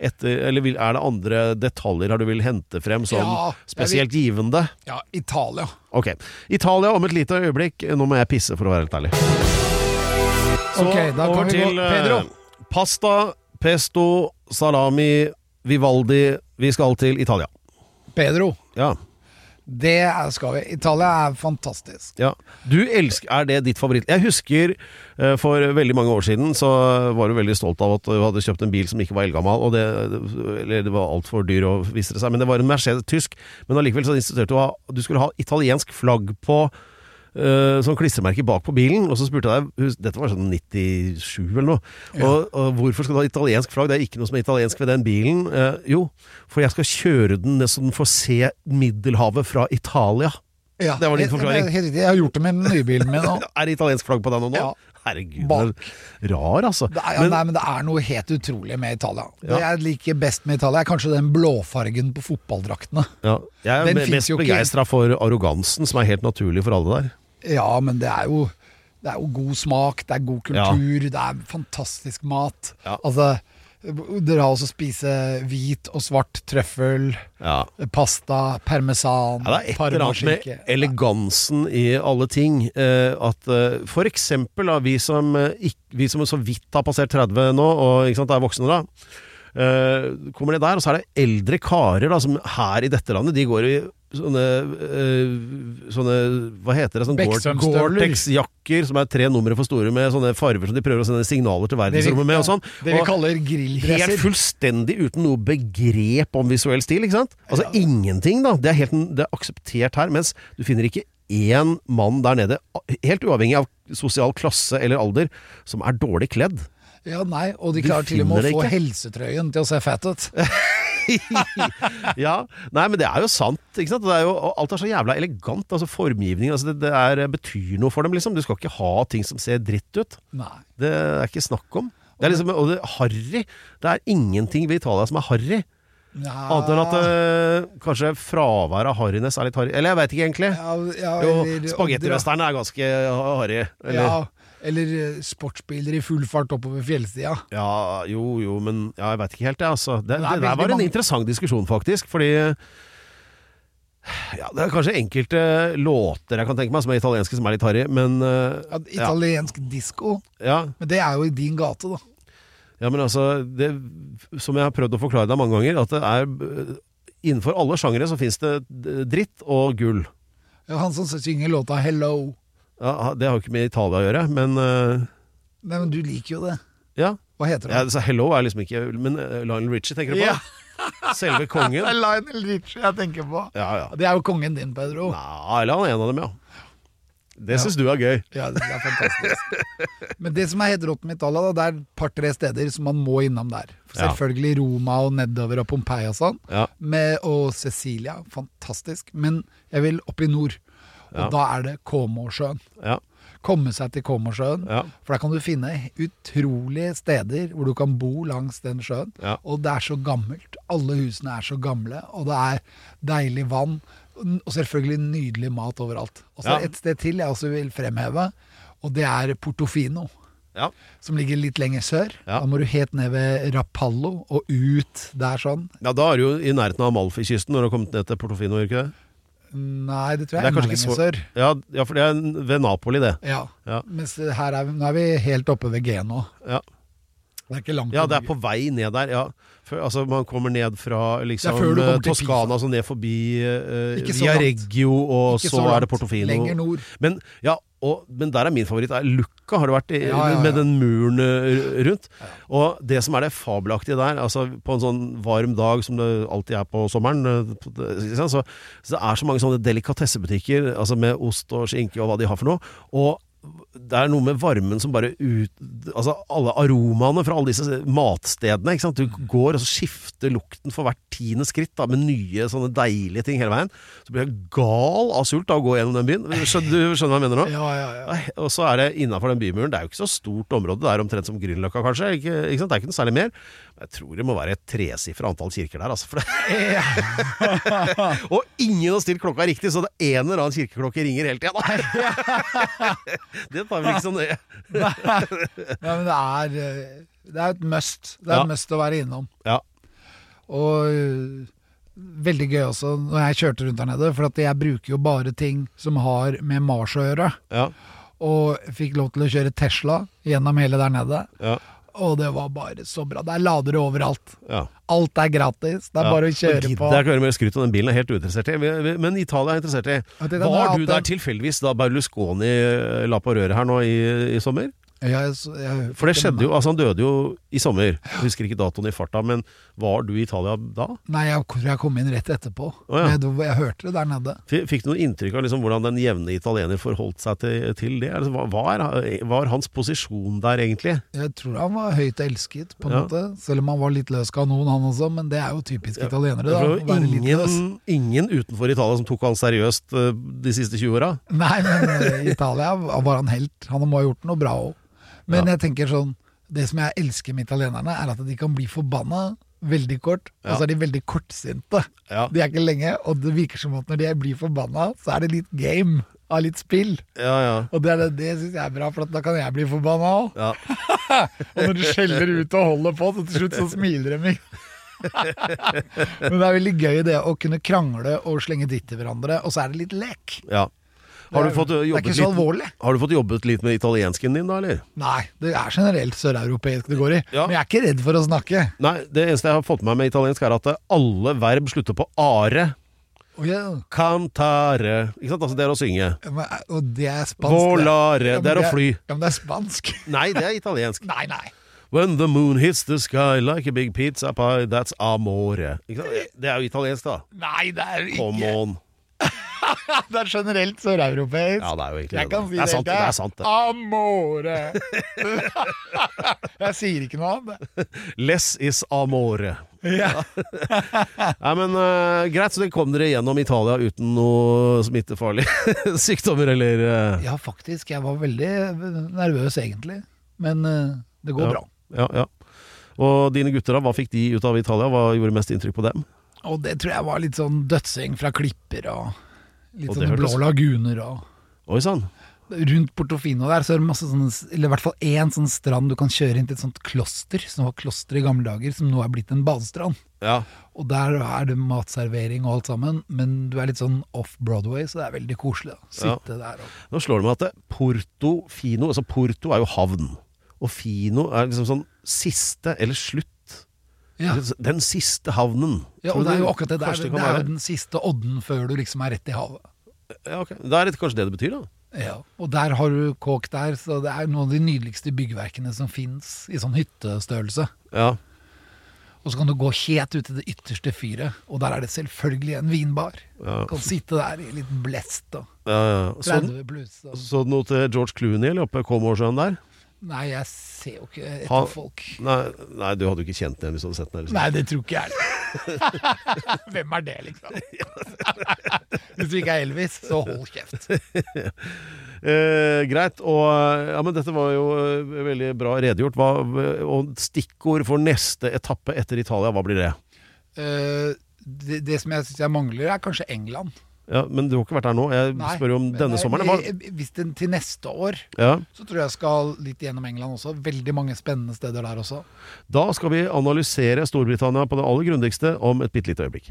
[SPEAKER 2] Etter, eller vil, er det andre detaljer her du vil hente frem som
[SPEAKER 3] Ja, jeg
[SPEAKER 2] spesielt givende?
[SPEAKER 3] Ja, Italia.
[SPEAKER 2] Ok. Italia om et lite øyeblikk. Nå må jeg pisse, for å være helt ærlig. Så
[SPEAKER 3] Ok, da kan
[SPEAKER 2] over
[SPEAKER 3] vi
[SPEAKER 2] til
[SPEAKER 3] gå- Pedro.
[SPEAKER 2] eh, pasta, pesto, salami, Vivaldi. Vi skal til Italia.
[SPEAKER 3] Pedro.
[SPEAKER 2] Ja.
[SPEAKER 3] Det er- skal vi. Italia er fantastisk.
[SPEAKER 2] ja. Du elsker Er det ditt favoritt? Jeg husker eh, for veldig mange år siden så var du veldig stolt av at du hadde kjøpt en bil som ikke var eldgammel, og det, eller det var altfor dyr, og viste det seg. Men det var en Mercedes tysk. Men allikevel så insisterte du på at du skulle ha italiensk flagg på eh, sånn klistremerke bak på bilen, og så spurte jeg deg hus- Dette var sånn 97 eller noe. Og, og hvorfor skal du ha italiensk flagg? Det er ikke noe som er italiensk ved den bilen. Eh, jo, for jeg skal kjøre den så den får se Middelhavet fra Italia.
[SPEAKER 3] Ja,
[SPEAKER 2] Det var din
[SPEAKER 3] helt-
[SPEAKER 2] forklaring.
[SPEAKER 3] Helt, riktig. Jeg har gjort det med nybilen min òg.
[SPEAKER 2] Er det italiensk flagg på den nå?
[SPEAKER 3] Ja.
[SPEAKER 2] Herregud,
[SPEAKER 3] Bak.
[SPEAKER 2] det er rar altså.
[SPEAKER 3] Det er, ja,
[SPEAKER 2] Men-
[SPEAKER 3] nei, men det er noe helt utrolig med Italia. Det
[SPEAKER 2] Ja.
[SPEAKER 3] jeg liker best med Italia, er kanskje den blåfargen på fotballdraktene.
[SPEAKER 2] ja, jeg er
[SPEAKER 3] Den
[SPEAKER 2] be-
[SPEAKER 3] finnes
[SPEAKER 2] mest
[SPEAKER 3] jo ikke.
[SPEAKER 2] begeistra for arrogansen som er helt naturlig for alle der.
[SPEAKER 3] Ja, men det er jo Det er jo god smak, det er god kultur, det er fantastisk mat.
[SPEAKER 2] Ja.
[SPEAKER 3] Altså, dere har også spise hvit og svart trøffel,
[SPEAKER 2] Ja.
[SPEAKER 3] pasta, parmesan,
[SPEAKER 2] Ja, det er et eller annet
[SPEAKER 3] parmaskinke.
[SPEAKER 2] med elegansen i alle ting. Eh, at eh, for eksempel da, vi som, eh, ikk- vi som så vidt har passert 30 nå, og ikke sant, er voksne da. Eh, kommer det der, og så er det eldre karer da, som her i dette landet, de går i sånne, eh, sånne Hva heter det? Sånn
[SPEAKER 3] Beksømstøvler.
[SPEAKER 2] Gore-Tex-jakker som er tre numre for store med sånne farver som de prøver å sende signaler til
[SPEAKER 3] Det vi-
[SPEAKER 2] verdensrommet med og sånn.
[SPEAKER 3] Det vi
[SPEAKER 2] Og-
[SPEAKER 3] kaller
[SPEAKER 2] Helt
[SPEAKER 3] grilldresser.
[SPEAKER 2] fullstendig uten noe begrep om visuell stil, ikke sant? Altså ingenting, da. Det er, helt, det er akseptert her, mens du finner ikke én mann der nede, helt uavhengig av sosial klasse eller alder, som er dårlig kledd.
[SPEAKER 3] Ja, nei, og de
[SPEAKER 2] Du
[SPEAKER 3] klarer til og med
[SPEAKER 2] finner
[SPEAKER 3] å
[SPEAKER 2] det
[SPEAKER 3] få
[SPEAKER 2] ikke. Eh,
[SPEAKER 3] helsetrøyen til å se fett ut.
[SPEAKER 2] Ja, Nei, men det er jo sant, ikke sant? Det er jo, og alt er så jævla elegant. altså Formgivning altså det, det er, betyr noe for dem, liksom. Du skal ikke ha ting som ser dritt ut.
[SPEAKER 3] Nei.
[SPEAKER 2] Det er ikke snakk om. Det er liksom, og det, harry. Det er ingenting ved Italia som er harry.
[SPEAKER 3] Ja,
[SPEAKER 2] Annet enn at øh, kanskje fraværet av harryness er litt harry. Eller jeg veit ikke egentlig.
[SPEAKER 3] ja, ja,
[SPEAKER 2] Jo,
[SPEAKER 3] eller-
[SPEAKER 2] spagettivesteren er ganske harry. Eller, ja.
[SPEAKER 3] Ja, eller eh, sportsbiler i full fart oppover fjellstia.
[SPEAKER 2] jo, jo, men ja, jeg veit ikke helt, jeg. Altså. Det, det,
[SPEAKER 3] er veldig
[SPEAKER 2] der var en
[SPEAKER 3] mange-
[SPEAKER 2] interessant diskusjon, faktisk. Fordi ja, Det er kanskje enkelte låter jeg kan tenke meg som er italienske, som er litt harry, men øh,
[SPEAKER 3] Ja, italiensk disko.
[SPEAKER 2] ja,
[SPEAKER 3] Men det er jo i din gate, da.
[SPEAKER 2] ja, men altså det, Som jeg har prøvd å forklare deg mange ganger, at det er øh, Innenfor alle sjangere så fins det dritt og gull.
[SPEAKER 3] Ja, Han som synger låta 'Hello'.
[SPEAKER 2] Ja, det har jo ikke med Italia å gjøre, men øh,
[SPEAKER 3] Nei, men du liker jo det.
[SPEAKER 2] ja.
[SPEAKER 3] Hva heter
[SPEAKER 2] Ja,
[SPEAKER 3] det?
[SPEAKER 2] så Hello er liksom ikke Men eh, Lionel Richie tenker du på?
[SPEAKER 3] Ja.
[SPEAKER 2] Selve kongen?
[SPEAKER 3] Det er Lionel Richie jeg tenker på.
[SPEAKER 2] Ja, ja.
[SPEAKER 3] Det er jo kongen din, Pedro.
[SPEAKER 2] Nei, eller han er en av dem, ja. Det syns du er gøy.
[SPEAKER 3] Ja, det er fantastisk. Men det som er helt rått med Italia, da, det er et par-tre steder som man må innom der. For
[SPEAKER 2] Ja.
[SPEAKER 3] selvfølgelig Roma og nedover og Pompeii og sånn.
[SPEAKER 2] Ja.
[SPEAKER 3] Med, og Cecilia, fantastisk. Men jeg vil opp i nord. Og
[SPEAKER 2] Ja.
[SPEAKER 3] da er det Komosjøen.
[SPEAKER 2] Ja,
[SPEAKER 3] Komme seg til Komosjøen.
[SPEAKER 2] Ja.
[SPEAKER 3] For der kan du finne utrolige steder hvor du kan bo langs den sjøen.
[SPEAKER 2] Ja.
[SPEAKER 3] Og det er så gammelt. Alle husene er så gamle, og det er deilig vann. Og selvfølgelig nydelig mat overalt. Og så er
[SPEAKER 2] Ja.
[SPEAKER 3] det et sted til jeg også vil fremheve, og det er Portofino.
[SPEAKER 2] ja.
[SPEAKER 3] Som ligger litt lenger sør.
[SPEAKER 2] Ja.
[SPEAKER 3] Da må du helt ned ved Rapallo og ut der sånn.
[SPEAKER 2] ja da er du jo i nærheten av Amalfi-kysten når du har kommet ned til Portofino, gjør du ikke det?
[SPEAKER 3] Nei, det tror
[SPEAKER 2] Det
[SPEAKER 3] jeg
[SPEAKER 2] er
[SPEAKER 3] er enda
[SPEAKER 2] kanskje
[SPEAKER 3] lenger
[SPEAKER 2] ikke så
[SPEAKER 3] sør.
[SPEAKER 2] ja, ja, for det er ved Napoli, det.
[SPEAKER 3] Ja.
[SPEAKER 2] Ja.
[SPEAKER 3] Mens her er vi, nå er vi helt oppe ved Geno.
[SPEAKER 2] Ja,
[SPEAKER 3] Det er ikke langt
[SPEAKER 2] ja
[SPEAKER 3] fra
[SPEAKER 2] det er
[SPEAKER 3] Norge.
[SPEAKER 2] på vei ned der, ja. Før, altså, man kommer ned fra liksom,
[SPEAKER 3] Det er før du kommer
[SPEAKER 2] eh,
[SPEAKER 3] til
[SPEAKER 2] Toskana, altså ned forbi eh,
[SPEAKER 3] Ikke så
[SPEAKER 2] Via
[SPEAKER 3] langt.
[SPEAKER 2] Reggio, og
[SPEAKER 3] Ikke
[SPEAKER 2] så,
[SPEAKER 3] langt.
[SPEAKER 2] er det Portofino.
[SPEAKER 3] Lenger nord.
[SPEAKER 2] Men, ja, og, men der er min favoritt er Lukka, har du vært i,
[SPEAKER 3] Ja, ja, ja.
[SPEAKER 2] med den muren eh, rundt? Og det som er det fabelaktige der, altså på en sånn varm dag som det alltid er på sommeren, eh, på- ikke sant, så, så det er så mange sånne delikatessebutikker altså med ost og skinke og hva de har for noe. Og det er noe med varmen som bare ut... Altså alle aromaene fra alle disse matstedene. Ikke sant? Du går og så skifter lukten for hvert tiende skritt da, med nye sånne deilige ting hele veien. Så blir jeg gal av sult av å gå gjennom den byen. Skjønner, du skjønner hva jeg mener nå?
[SPEAKER 3] Ja, ja, ja.
[SPEAKER 2] Nei, Og så er det innafor den bymuren. Det er jo ikke så stort område. Det er omtrent som Grünerløkka, kanskje. Ikke, ikke sant? Det er ikke noe særlig mer. Men jeg tror det må være et tresifra antall kirker der, altså. For det. og ingen har stilt klokka riktig, så det er en eller annen kirkeklokke ringer hele tida. det tar vel ikke så nøye.
[SPEAKER 3] Ja, men det er, eh, det er et must. Det er
[SPEAKER 2] Ja.
[SPEAKER 3] et must å være innom.
[SPEAKER 2] Ja.
[SPEAKER 3] Og eh, veldig gøy også når jeg kjørte rundt der nede, for at jeg bruker jo bare ting som har med Mars å gjøre.
[SPEAKER 2] Ja.
[SPEAKER 3] Og jeg fikk lov til å kjøre Tesla gjennom hele der nede.
[SPEAKER 2] Ja.
[SPEAKER 3] Og det var bare så bra. Det er ladere overalt.
[SPEAKER 2] Ja.
[SPEAKER 3] Alt er gratis. Det er
[SPEAKER 2] Ja.
[SPEAKER 3] bare å
[SPEAKER 2] Nå
[SPEAKER 3] kjøre
[SPEAKER 2] gidder
[SPEAKER 3] på.
[SPEAKER 2] Jeg ikke høre mer skryt om den bilen, jeg er helt uinteressert i. Vi- vi- Men Italia er jeg interessert i.
[SPEAKER 3] Ja, det kan være
[SPEAKER 2] Var
[SPEAKER 3] at
[SPEAKER 2] du der
[SPEAKER 3] den-
[SPEAKER 2] tilfeldigvis da Berlusconi eh, la på røret her nå i, i sommer?
[SPEAKER 3] Ja, jeg så- jeg-
[SPEAKER 2] For det skjedde jo, altså han døde jo i sommer. Jeg husker ikke datoen i farta, men var du i Italia da?
[SPEAKER 3] Nei, jeg tror jeg kom inn rett etterpå.
[SPEAKER 2] Å, ja.
[SPEAKER 3] Men jeg, jeg hørte det der nede.
[SPEAKER 2] F- Fikk du noe inntrykk av liksom hvordan den jevne italiener forholdt seg til, til det? Altså, hva, hva er, var hans posisjon der egentlig?
[SPEAKER 3] Jeg tror han var høyt elsket, på en
[SPEAKER 2] Ja.
[SPEAKER 3] måte. Selv om han var litt løs kanon, han også. Men det er jo typisk italienere,
[SPEAKER 2] Det
[SPEAKER 3] da.
[SPEAKER 2] var
[SPEAKER 3] å
[SPEAKER 2] jo
[SPEAKER 3] være litt løs.
[SPEAKER 2] ingen, ingen utenfor Italia som tok han seriøst eh, de siste 20 åra.
[SPEAKER 3] Nei, men eh, i Italia var han helt. Han må ha gjort noe bra òg. Men jeg tenker sånn Det som jeg elsker med italienerne, er at de kan bli forbanna veldig kort, og så er de veldig kortsinte.
[SPEAKER 2] Ja.
[SPEAKER 3] De er ikke lenge, og det virker som at når de blir forbanna, så er det litt game av litt spill.
[SPEAKER 2] Ja, ja.
[SPEAKER 3] Og det, er det, det syns jeg er bra, for at da kan jeg bli forbanna òg.
[SPEAKER 2] Ja.
[SPEAKER 3] Og når du skjeller ut og holder på, så til slutt så smiler de. Men det er veldig gøy det å kunne krangle og slenge dritt til hverandre, og så er det litt lek.
[SPEAKER 2] ja. Har du
[SPEAKER 3] Det er-
[SPEAKER 2] fått eh,
[SPEAKER 3] det er
[SPEAKER 2] jobbet
[SPEAKER 3] ikke så
[SPEAKER 2] litt-
[SPEAKER 3] alvorlig.
[SPEAKER 2] Har du fått jobbet litt med italiensken din, da, eller?
[SPEAKER 3] Nei, det er generelt søreuropeisk det går i.
[SPEAKER 2] Ja.
[SPEAKER 3] Men jeg er ikke redd for å snakke.
[SPEAKER 2] Nei, det eneste jeg har fått med meg med italiensk, er at alle verb slutter på are.
[SPEAKER 3] Og, jeg,
[SPEAKER 2] Cantare. Ikke sant? Altså, det er å synge.
[SPEAKER 3] men, eh, og det er spansk.
[SPEAKER 2] Volare.
[SPEAKER 3] Ja, men
[SPEAKER 2] Det er å fly.
[SPEAKER 3] Ja, men det er spansk.
[SPEAKER 2] Nei, det er italiensk.
[SPEAKER 3] Nei, nei.
[SPEAKER 2] When the moon hits the sky like a big pizza pie, that's amore. Ikke sant? Det er jo italiensk, da.
[SPEAKER 3] Nei, det er ikke
[SPEAKER 2] Come on.
[SPEAKER 3] Det er generelt søreuropeisk.
[SPEAKER 2] Ja, det er jo egentlig
[SPEAKER 3] jeg
[SPEAKER 2] det,
[SPEAKER 3] kan
[SPEAKER 2] da.
[SPEAKER 3] si
[SPEAKER 2] Det er sant,
[SPEAKER 3] ikke?
[SPEAKER 2] det er sant, det.
[SPEAKER 3] Amore! jeg sier ikke noe annet.
[SPEAKER 2] Less is amore.
[SPEAKER 3] Ja.
[SPEAKER 2] Nei, men eh, Greit, så det kom dere gjennom Italia uten noe smittefarlige sykdommer, eller eh,
[SPEAKER 3] ja, faktisk. Jeg var veldig nervøs egentlig. Men eh, det går
[SPEAKER 2] Ja.
[SPEAKER 3] bra.
[SPEAKER 2] Ja, ja. Og dine gutter, da? Hva fikk de ut av Italia? Hva gjorde mest inntrykk på dem?
[SPEAKER 3] Og det tror jeg var litt sånn dødsing fra klipper og litt
[SPEAKER 2] Og det
[SPEAKER 3] sånn blå
[SPEAKER 2] hørtes-
[SPEAKER 3] laguner og
[SPEAKER 2] Oi sann.
[SPEAKER 3] Rundt Portofino der så er det masse sånne, eller i hvert fall én sånn strand du kan kjøre inn til et sånt kloster, som var kloster i gamle dager, som nå er blitt en badestrand.
[SPEAKER 2] Ja.
[SPEAKER 3] Og der er det matservering og alt sammen, men du er litt sånn off-Broadway, så det er veldig koselig å sitte der og
[SPEAKER 2] Nå slår det meg at det, Portofino Altså Porto er jo havn, og Fino er liksom sånn siste, eller slutt.
[SPEAKER 3] ja.
[SPEAKER 2] Den siste havnen.
[SPEAKER 3] ja,
[SPEAKER 2] Tror
[SPEAKER 3] og det er
[SPEAKER 2] du
[SPEAKER 3] jo akkurat det.
[SPEAKER 2] sånn-
[SPEAKER 3] Det er,
[SPEAKER 2] kanskje
[SPEAKER 3] det
[SPEAKER 2] kan
[SPEAKER 3] er
[SPEAKER 2] være-
[SPEAKER 3] jo den siste odden før du liksom er rett i havet.
[SPEAKER 2] Ja, ok. Det er litt kanskje det det betyr, da.
[SPEAKER 3] Ja, og der har du kåk der, så det er noen av de nydeligste byggverkene som fins i sånn hyttestørrelse.
[SPEAKER 2] Ja.
[SPEAKER 3] Og så kan du gå helt ut til det ytterste fyret, og der er det selvfølgelig en vinbar.
[SPEAKER 2] Ja.
[SPEAKER 3] Du kan sitte der i litt blest og
[SPEAKER 2] ja, ja. Så,
[SPEAKER 3] 30 pluss. Og...
[SPEAKER 2] så du noe til George Clooney eller oppe Komorsjøen der?
[SPEAKER 3] Nei, jeg ser jo ikke etter
[SPEAKER 2] Han-
[SPEAKER 3] folk.
[SPEAKER 2] Nei, nei, du hadde jo ikke kjent den hvis du hadde sett den. Liksom.
[SPEAKER 3] Nei, det tror ikke jeg. Hvem er det, liksom? Hvis du ikke er Elvis, så hold kjeft.
[SPEAKER 2] Eh, greit. Og, eh, ja, men dette var jo eh, veldig bra redegjort. Hva, eh, og stikkord for neste etappe etter Italia, hva blir det?
[SPEAKER 3] Eh, det, det som jeg syns jeg mangler, er kanskje England.
[SPEAKER 2] Ja, men du har ikke vært der nå. Jeg
[SPEAKER 3] Nei,
[SPEAKER 2] spør jo om
[SPEAKER 3] men
[SPEAKER 2] denne
[SPEAKER 3] nei,
[SPEAKER 2] sommeren. Hva?
[SPEAKER 3] eh, Hvis den til neste år,
[SPEAKER 2] Ja.
[SPEAKER 3] så tror jeg jeg skal litt gjennom England også. Veldig mange spennende steder der også.
[SPEAKER 2] Da skal vi analysere Storbritannia på det aller grundigste om et bitte lite øyeblikk.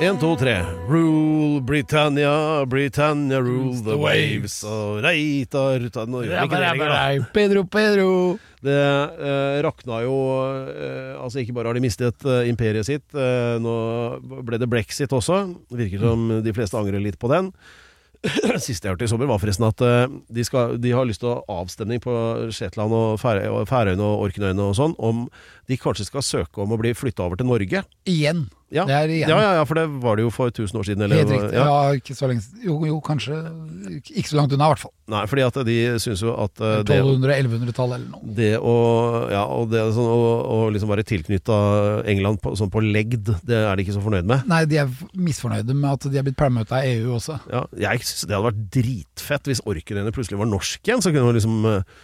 [SPEAKER 2] Én, to, tre. Rule Britannia, Britannia rule the waves. Og reita ruta Nå gjør vi ikke det lenger, da.
[SPEAKER 3] Pedro, Pedro.
[SPEAKER 2] Det eh, rakna jo eh, Altså, ikke bare har de mistet eh, imperiet sitt, eh, nå ble det brexit også. Det virker som
[SPEAKER 3] Mm.
[SPEAKER 2] de fleste angrer litt på den. Siste jeg hørte i sommer, var forresten at eh, de, skal, de har lyst til å ha avstemning på Shetland og Færøy- og Færøyene og Orknøyene og sånn, om de kanskje skal søke om å bli flytta over til Norge.
[SPEAKER 3] Igjen.
[SPEAKER 2] Ja.
[SPEAKER 3] Det er igjen.
[SPEAKER 2] Ja, ja, ja, for det var det jo for 1000 år siden. Eller,
[SPEAKER 3] Helt riktig. Ja. ikke så lenge siden. Jo, jo, kanskje. Ikke så langt unna, i hvert fall.
[SPEAKER 2] Nei, fordi at de syns jo at eh, det
[SPEAKER 3] 1200-1100-tallet eller noe.
[SPEAKER 2] det å, ja, og det, er sånn, å, å liksom være tilknytta England på, sånn på legd, det er de ikke så fornøyd med.
[SPEAKER 3] Nei, de er misfornøyde med at de er blitt pælmauta av EU også.
[SPEAKER 2] Ja, jeg synes Det hadde vært dritfett hvis Orknøyene plutselig var norsk igjen. Så kunne man liksom eh,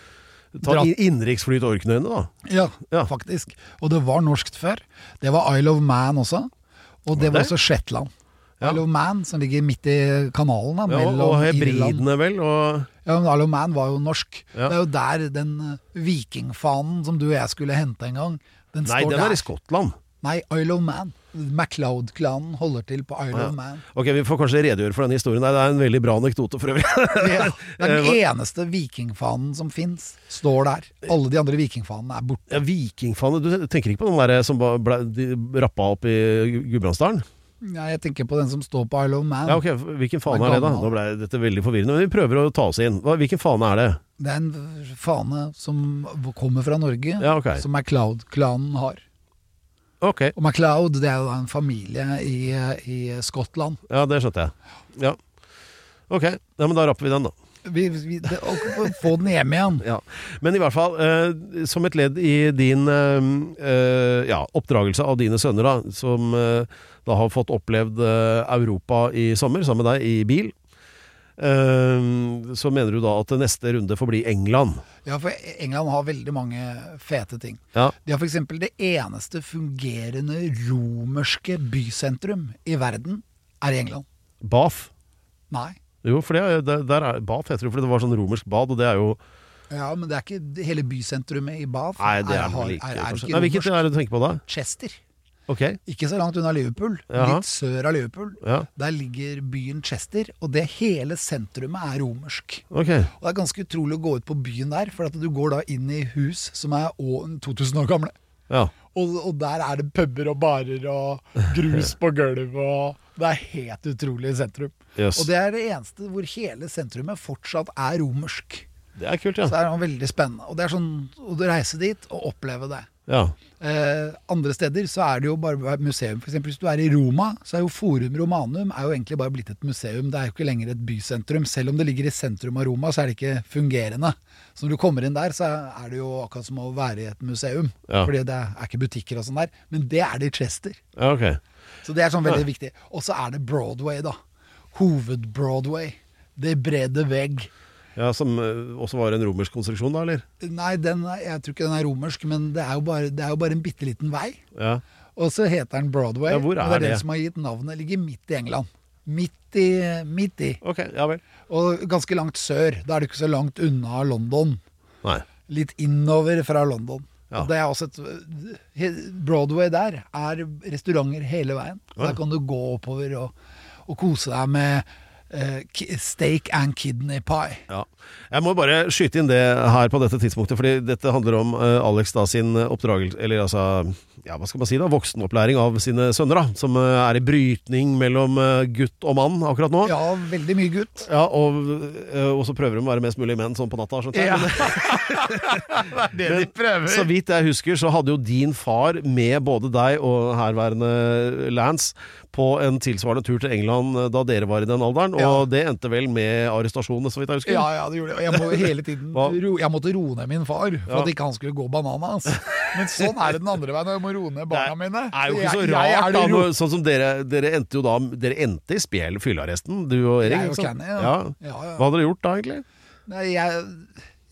[SPEAKER 2] ta
[SPEAKER 3] Dratt.
[SPEAKER 2] in- innenriksfly til Orknøyene, da.
[SPEAKER 3] Ja,
[SPEAKER 2] Ja.
[SPEAKER 3] faktisk. Og det var norskt før. Det var Isle of Man også. Og det var
[SPEAKER 2] det?
[SPEAKER 3] også Shetland.
[SPEAKER 2] Ja.
[SPEAKER 3] Isle of Man, som ligger midt i kanalen
[SPEAKER 2] Ja,
[SPEAKER 3] da,
[SPEAKER 2] og,
[SPEAKER 3] mellom
[SPEAKER 2] og
[SPEAKER 3] Irland
[SPEAKER 2] hebridene, vel. Og,
[SPEAKER 3] Ja, men Isle of Man var jo norsk.
[SPEAKER 2] Ja.
[SPEAKER 3] Det er jo der den eh, vikingfanen som du og jeg skulle hente en gang, den
[SPEAKER 2] nei,
[SPEAKER 3] står
[SPEAKER 2] den er
[SPEAKER 3] der.
[SPEAKER 2] i Skottland.
[SPEAKER 3] Nei, Isle of Man. MacLeod-klanen holder til på Isle
[SPEAKER 2] Ja.
[SPEAKER 3] of Man.
[SPEAKER 2] Ok, Vi får kanskje redegjøre for denne historien. der. Det er en veldig bra anekdote for øvrig.
[SPEAKER 3] Ja, det er
[SPEAKER 2] Eh,
[SPEAKER 3] den eneste vikingfanen som fins, står der. Alle de andre vikingfanene er borte.
[SPEAKER 2] Ja, Vikingfane. Du tenker ikke på den der som ba- ble, de rappa opp i Gudbrandsdalen?
[SPEAKER 3] Ja, jeg tenker på den som står på Isle of Man.
[SPEAKER 2] Ja, ok, Hvilken fane
[SPEAKER 3] Den
[SPEAKER 2] er det, da?
[SPEAKER 3] gamle.
[SPEAKER 2] Nå ble dette veldig forvirrende. Men vi prøver å ta oss inn. Hva- Hvilken fane er det?
[SPEAKER 3] Det er en fane som kommer fra Norge,
[SPEAKER 2] Ja, ok.
[SPEAKER 3] som MacLeod-klanen har.
[SPEAKER 2] Ok,
[SPEAKER 3] Og MacLeod det er jo da en familie i, eh, i Skottland.
[SPEAKER 2] ja det skjønte jeg. Ja. Ok, ja, men da rapper vi den, da.
[SPEAKER 3] vi, vi, det, å få den hjem igjen.
[SPEAKER 2] Ja. Men i hvert fall, eh, som et ledd i din eh, eh, ja, oppdragelse av dine sønner, da, som eh, da har fått opplevd eh, Europa i sommer sammen med deg i bil, eh, så mener du da at neste runde får bli England.
[SPEAKER 3] Ja, for England har veldig mange fete ting.
[SPEAKER 2] Ja.
[SPEAKER 3] De har f.eks. det eneste fungerende romerske bysentrum i verden, er i England.
[SPEAKER 2] Bath.
[SPEAKER 3] Nei.
[SPEAKER 2] Jo, for det, er- der- der er, Bath heter det fordi det var sånn romersk bad, og det er jo
[SPEAKER 3] Ja, men det er ikke hele bysentrumet i Bath.
[SPEAKER 2] Nei, det er noe
[SPEAKER 3] har-
[SPEAKER 2] like,
[SPEAKER 3] er, er
[SPEAKER 2] kanskje.
[SPEAKER 3] ikke
[SPEAKER 2] Nei, Hvilket
[SPEAKER 3] romersk.
[SPEAKER 2] er det du tenker på da?
[SPEAKER 3] Chester.
[SPEAKER 2] Ok,
[SPEAKER 3] Ikke så langt unna Liverpool.
[SPEAKER 2] Jaha.
[SPEAKER 3] Litt sør av Liverpool.
[SPEAKER 2] Ja.
[SPEAKER 3] Der ligger byen Chester, og det hele sentrumet er romersk.
[SPEAKER 2] ok.
[SPEAKER 3] Og Det er ganske utrolig å gå ut på byen der, for at du går da inn i hus som er å- 2000 år gamle.
[SPEAKER 2] Ja.
[SPEAKER 3] Og, og der er det puber og barer og grus på gulv og Det er helt utrolig sentrum.
[SPEAKER 2] Yes.
[SPEAKER 3] Og det er det eneste hvor hele sentrumet fortsatt er romersk.
[SPEAKER 2] Det er kult,
[SPEAKER 3] Så det
[SPEAKER 2] ja.
[SPEAKER 3] er noe veldig spennende. Og det er sånn å reise dit og oppleve det.
[SPEAKER 2] ja.
[SPEAKER 3] Eh, andre steder så er det jo bare museum. For eksempel, hvis du er i Roma, så er jo Forum Romanum er jo egentlig bare blitt et museum. Det er jo ikke lenger et bysentrum. Selv om det ligger i sentrum av Roma, så er det ikke fungerende. Så når du kommer inn der, så er det jo akkurat som å være i et museum.
[SPEAKER 2] Ja.
[SPEAKER 3] Fordi det er ikke butikker og sånn der. Men det er det i Chester.
[SPEAKER 2] ja ok.
[SPEAKER 3] Så det er sånn veldig viktig. Og så er det Broadway, da. Hoved-Broadway. Det brede vegg.
[SPEAKER 2] Ja, Som eh, også var en romersk konstruksjon, da, eller?
[SPEAKER 3] Nei, den er, jeg tror ikke den er romersk, men det er jo bare, det er jo bare en bitte liten vei.
[SPEAKER 2] Ja.
[SPEAKER 3] Og så heter den Broadway.
[SPEAKER 2] Ja, hvor
[SPEAKER 3] og
[SPEAKER 2] er
[SPEAKER 3] det er
[SPEAKER 2] det?
[SPEAKER 3] den som har gitt navnet. Ligger midt i England. Midt i, midt i.
[SPEAKER 2] Ok, ja vel.
[SPEAKER 3] Og ganske langt sør. Da er det ikke så langt unna London.
[SPEAKER 2] Nei.
[SPEAKER 3] Litt innover fra London.
[SPEAKER 2] Ja.
[SPEAKER 3] Og det er også et, he- Broadway der er restauranter hele veien. Så Der kan du gå oppover og, og kose deg med eh, ki- steak and kidney pie.
[SPEAKER 2] Ja. Jeg må bare skyte inn det her på dette tidspunktet, fordi dette handler om eh, Alex da sin oppdragelse, eller altså, ja, hva skal man si da, voksenopplæring av sine sønner da, som eh, er i brytning mellom eh, gutt og mann akkurat nå.
[SPEAKER 3] Ja, veldig mye gutt.
[SPEAKER 2] Ja, og, eh, og så prøver de å være mest mulig menn sånn på natta. Sånt,
[SPEAKER 3] Ja.
[SPEAKER 2] Men-
[SPEAKER 3] Det
[SPEAKER 2] Men Så vidt jeg husker, så hadde jo din far med både deg og herværende Lance på en tilsvarende tur til England eh, da dere var i den alderen,
[SPEAKER 3] Ja.
[SPEAKER 2] og det endte vel med arrestasjonene, så vidt jeg husker.
[SPEAKER 3] Ja, ja, det gjorde det. Og jeg, må jo hele tiden,
[SPEAKER 2] Hva?
[SPEAKER 3] ro, jeg måtte roe ned min far, for
[SPEAKER 2] Ja.
[SPEAKER 3] at ikke han skulle gå bananas. Men sånn er det den andre veien, og jeg må roe ned barna mine.
[SPEAKER 2] Det er jo ikke så
[SPEAKER 3] eh, jeg,
[SPEAKER 2] rart,
[SPEAKER 3] jeg er det
[SPEAKER 2] da,
[SPEAKER 3] ro-
[SPEAKER 2] når, sånn som dere, dere endte jo da Dere endte i spjel fyllearresten, du og Erik.
[SPEAKER 3] Jeg og
[SPEAKER 2] ikke sant?
[SPEAKER 3] Kenny, ja.
[SPEAKER 2] Ja.
[SPEAKER 3] Ja, ja.
[SPEAKER 2] Hva hadde dere gjort da, egentlig?
[SPEAKER 3] Nei, jeg,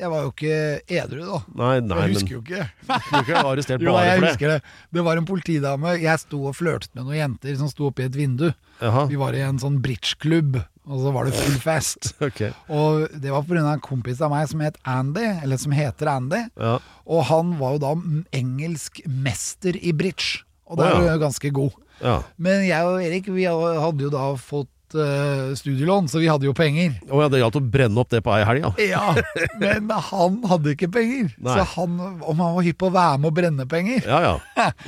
[SPEAKER 3] jeg var jo ikke edru, da.
[SPEAKER 2] Nei, nei,
[SPEAKER 3] jeg
[SPEAKER 2] men
[SPEAKER 3] husker
[SPEAKER 2] du
[SPEAKER 3] jo ikke.
[SPEAKER 2] kunne ikke arrestert
[SPEAKER 3] Jo, da,
[SPEAKER 2] bare
[SPEAKER 3] jeg
[SPEAKER 2] for det.
[SPEAKER 3] husker det. Det var en politidame. Jeg sto og flørtet med noen jenter som sto oppi et vindu.
[SPEAKER 2] Jaha.
[SPEAKER 3] Vi var i en sånn bridgeklubb, og så var det full fest.
[SPEAKER 2] Ok.
[SPEAKER 3] Og det var pga. en kompis av meg som het Andy, eller som heter Andy.
[SPEAKER 2] Ja.
[SPEAKER 3] Og han var jo da m- engelsk mester i bridge, og det
[SPEAKER 2] Å,
[SPEAKER 3] er
[SPEAKER 2] ja.
[SPEAKER 3] jo ganske god.
[SPEAKER 2] Ja.
[SPEAKER 3] Men jeg og Erik vi hadde jo da fått eh, studielån, så vi hadde jo penger.
[SPEAKER 2] Å ja, det gjaldt å brenne opp det på ei helg, ja.
[SPEAKER 3] Ja, men han hadde ikke penger.
[SPEAKER 2] Nei.
[SPEAKER 3] Så han, om han var hypp på å være med og brenne penger
[SPEAKER 2] Ja ja.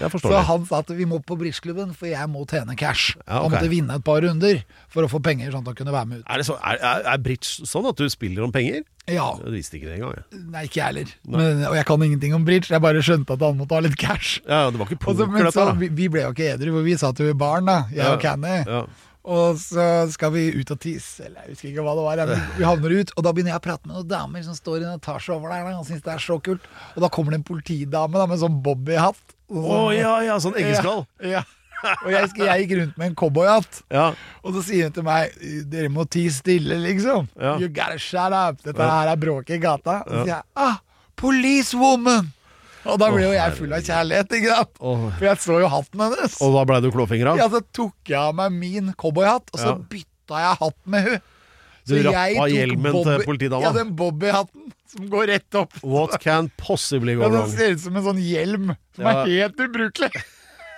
[SPEAKER 2] Jeg forstår
[SPEAKER 3] Så
[SPEAKER 2] det.
[SPEAKER 3] han sa at vi må på bridgeklubben, for jeg må tjene cash.
[SPEAKER 2] Ja, ok.
[SPEAKER 3] Han måtte vinne et par runder for å få penger, sånn at han kunne være med ut.
[SPEAKER 2] Er, det så, er, er, er bridge sånn at du spiller om penger?
[SPEAKER 3] Ja,
[SPEAKER 2] Jeg visste ikke det engang. jeg.
[SPEAKER 3] Nei, ikke jeg heller. Men, og jeg kan ingenting om bridge, jeg bare skjønte at han måtte ha litt cash.
[SPEAKER 2] Ja, ja, Det var ikke
[SPEAKER 3] Og så,
[SPEAKER 2] poker,
[SPEAKER 3] men
[SPEAKER 2] dette
[SPEAKER 3] så,
[SPEAKER 2] her. da.
[SPEAKER 3] vi, vi ble jo ikke edru, for vi satt jo i baren, da, jeg og Canny.
[SPEAKER 2] Ja.
[SPEAKER 3] Og så skal vi ut og tisse, eller jeg husker ikke hva det var. Men vi havner ut, og da begynner jeg å prate med noen damer som står i en etasje over der, da, og syns det er så kult. Og da kommer det en politidame da, med sånn bobbyhatt. og
[SPEAKER 2] Å
[SPEAKER 3] sånn-
[SPEAKER 2] ja ja, sånn eggeskall.
[SPEAKER 3] Ja, ja. Og jeg, husker jeg gikk rundt med en cowboyhatt.
[SPEAKER 2] Ja.
[SPEAKER 3] Og så sier hun til meg Dere må tie stille, liksom.
[SPEAKER 2] Ja.
[SPEAKER 3] You gotta shut up. Dette her er bråk i gata. Og så sier jeg ah, policewoman! Og da ble jo jeg full av kjærlighet, ikke sant?
[SPEAKER 2] Å.
[SPEAKER 3] For jeg så jo hatten hennes.
[SPEAKER 2] Og da blei du klåfingra?
[SPEAKER 3] Ja, så tok jeg av meg min cowboyhatt, og så
[SPEAKER 2] Ja.
[SPEAKER 3] bytta jeg hatt med hun.
[SPEAKER 2] Du
[SPEAKER 3] Så jeg
[SPEAKER 2] rappa
[SPEAKER 3] tok
[SPEAKER 2] hjelmen til
[SPEAKER 3] bobby-
[SPEAKER 2] politidama.
[SPEAKER 3] Ja, den bobbyhatten som går rett opp.
[SPEAKER 2] What can possibly
[SPEAKER 3] Ja,
[SPEAKER 2] go
[SPEAKER 3] den
[SPEAKER 2] wrong?
[SPEAKER 3] ser ut som en sånn hjelm som
[SPEAKER 2] Ja.
[SPEAKER 3] er helt ubrukelig.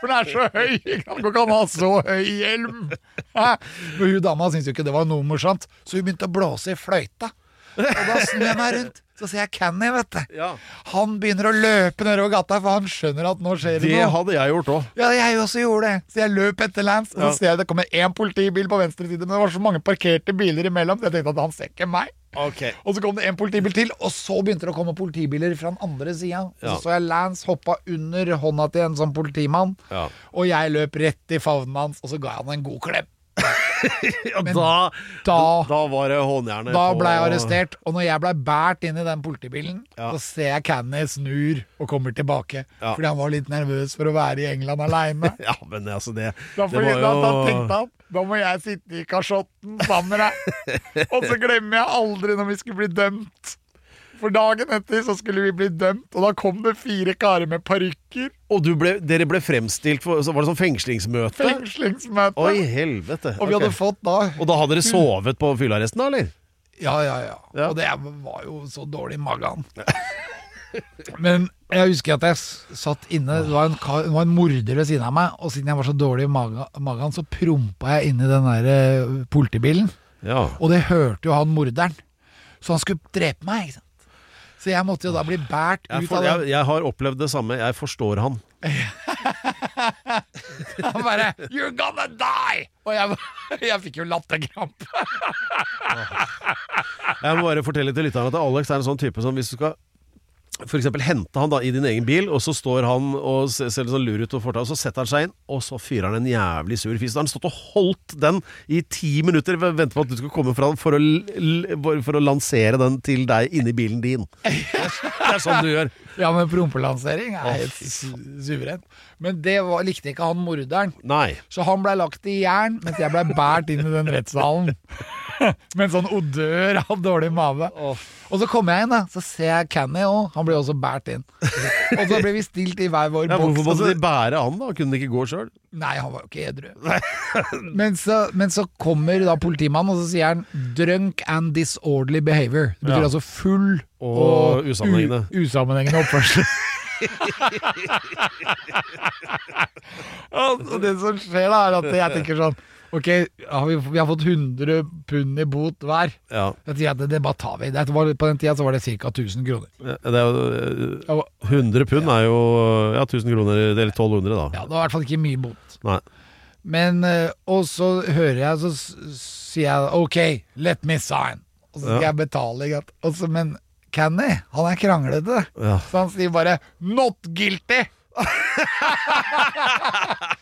[SPEAKER 3] For den er så høy. Det går ikke an å ha så høy hjelm. Hæ? Men hun dama syntes jo ikke det var noe morsomt, så hun begynte å blåse i fløyta. Og da snur jeg meg rundt, så ser jeg Canny, vet du.
[SPEAKER 2] Ja.
[SPEAKER 3] Han begynner å løpe nedover gata, for han skjønner at nå skjer det,
[SPEAKER 2] Det
[SPEAKER 3] noe.
[SPEAKER 2] hadde jeg gjort òg.
[SPEAKER 3] Ja, jeg også gjorde det. Så jeg løp etter Lance, og så
[SPEAKER 2] Ja.
[SPEAKER 3] ser jeg det kommer én politibil på venstre side, men det var så mange parkerte biler imellom, så jeg tenkte at han ser ikke meg. Og så kom det en politibil til, og så begynte det å komme politibiler fra den andre sida.
[SPEAKER 2] Ja.
[SPEAKER 3] Så så jeg Lance hoppa under hånda til en sånn politimann,
[SPEAKER 2] Ja.
[SPEAKER 3] og jeg løp rett i favnen hans, og så ga jeg han en god klem.
[SPEAKER 2] Ja, da,
[SPEAKER 3] da-
[SPEAKER 2] var det håndjernet
[SPEAKER 3] Da
[SPEAKER 2] på-
[SPEAKER 3] ble jeg arrestert, og når jeg ble båret inn i den politibilen,
[SPEAKER 2] Ja.
[SPEAKER 3] så ser jeg Canny snur og kommer tilbake.
[SPEAKER 2] Ja.
[SPEAKER 3] Fordi han var litt nervøs for å være i England aleine.
[SPEAKER 2] Ja, men altså det,
[SPEAKER 3] Da,
[SPEAKER 2] det
[SPEAKER 3] fordi,
[SPEAKER 2] var
[SPEAKER 3] da,
[SPEAKER 2] jo
[SPEAKER 3] da tenkte han da må jeg sitte i kasjotten sammen med deg. Og så glemmer jeg aldri når vi skulle bli dømt. For dagen etter så skulle vi bli dømt, og da kom det fire karer med parykker.
[SPEAKER 2] Og du ble, dere ble fremstilt for så Var det sånn fengslingsmøte?
[SPEAKER 3] Fengslingsmøte.
[SPEAKER 2] Oi, helvete.
[SPEAKER 3] Og vi hadde
[SPEAKER 2] Ok.
[SPEAKER 3] fått da
[SPEAKER 2] og da hadde dere sovet på fyllearresten, da, eller?
[SPEAKER 3] Ja, ja, ja.
[SPEAKER 2] Ja.
[SPEAKER 3] Og det var jo så dårlig i magen. Men jeg husker at jeg s- satt inne, det var en, kar, det var en morder ved siden av meg, og siden jeg var så dårlig i maga- magen, så prompa jeg inn i den der eh, politibilen.
[SPEAKER 2] Ja.
[SPEAKER 3] Og det hørte jo han morderen. Så han skulle drepe meg, ikke sant. Så jeg måtte jo da bli båret
[SPEAKER 2] Jeg,
[SPEAKER 3] ut
[SPEAKER 2] for,
[SPEAKER 3] av
[SPEAKER 2] jeg,
[SPEAKER 3] den.
[SPEAKER 2] jeg har opplevd det samme. Jeg forstår han.
[SPEAKER 3] Han bare 'You're gonna die!' Og jeg, bare- jeg fikk jo latterkrampe.
[SPEAKER 2] Jeg må bare fortelle til lytterne at Alex er en sånn type som hvis du skal for eksempel hente han da i din egen bil, og så står han og se- ser litt sånn lur ut, og fortall, så setter han seg inn, og så fyrer han en jævlig sur fis. Da har han stått og holdt den i ti minutter og venter på at du skal komme fra for å, l- l- for å lansere den til deg inni bilen din. Det er sånn du gjør.
[SPEAKER 3] Ja, men prompelansering
[SPEAKER 2] Å,
[SPEAKER 3] er helt
[SPEAKER 2] fy
[SPEAKER 3] su- suverent. Men det var, likte ikke han morderen.
[SPEAKER 2] Nei.
[SPEAKER 3] Så han blei lagt i jern, mens jeg blei båret inn i den rettssalen. Med en sånn odør av dårlig mage. Og så kommer jeg inn, da. Så ser jeg Canny òg. Han blir også båret inn. Og så blir vi stilt i hver vår
[SPEAKER 2] Ja,
[SPEAKER 3] boks. Altså,
[SPEAKER 2] hvorfor
[SPEAKER 3] og så-
[SPEAKER 2] måtte de bære han, da? Kunne de ikke gå sjøl?
[SPEAKER 3] Nei, han var jo ikke edru. Men så, men så kommer da politimannen, og så sier han 'drunk and disorderly behavior'. Det betyr
[SPEAKER 2] Ja.
[SPEAKER 3] altså full
[SPEAKER 2] Og usammenhengende.
[SPEAKER 3] u- usammenhengende oppførsel. altså, det som skjer, da, er at jeg tenker sånn Ok, har vi, vi har fått 100 pund i bot hver.
[SPEAKER 2] Ja.
[SPEAKER 3] Da sier jeg at det, det bare tar vi. Det var, på den tida så var det ca. 1000 kroner.
[SPEAKER 2] Det er jo eh,
[SPEAKER 3] Ja,
[SPEAKER 2] 100 pund er jo ja, 1000 kroner, eller 1200, da.
[SPEAKER 3] det var i hvert fall ikke mye bot.
[SPEAKER 2] Nei.
[SPEAKER 3] Men, eh, og så hører jeg, så s- sier jeg OK, let me sign. Og så skal
[SPEAKER 2] Ja.
[SPEAKER 3] jeg betale. ikke sant? Og så- men Canny, han er kranglete.
[SPEAKER 2] Ja.
[SPEAKER 3] Så han sier bare 'not guilty'. og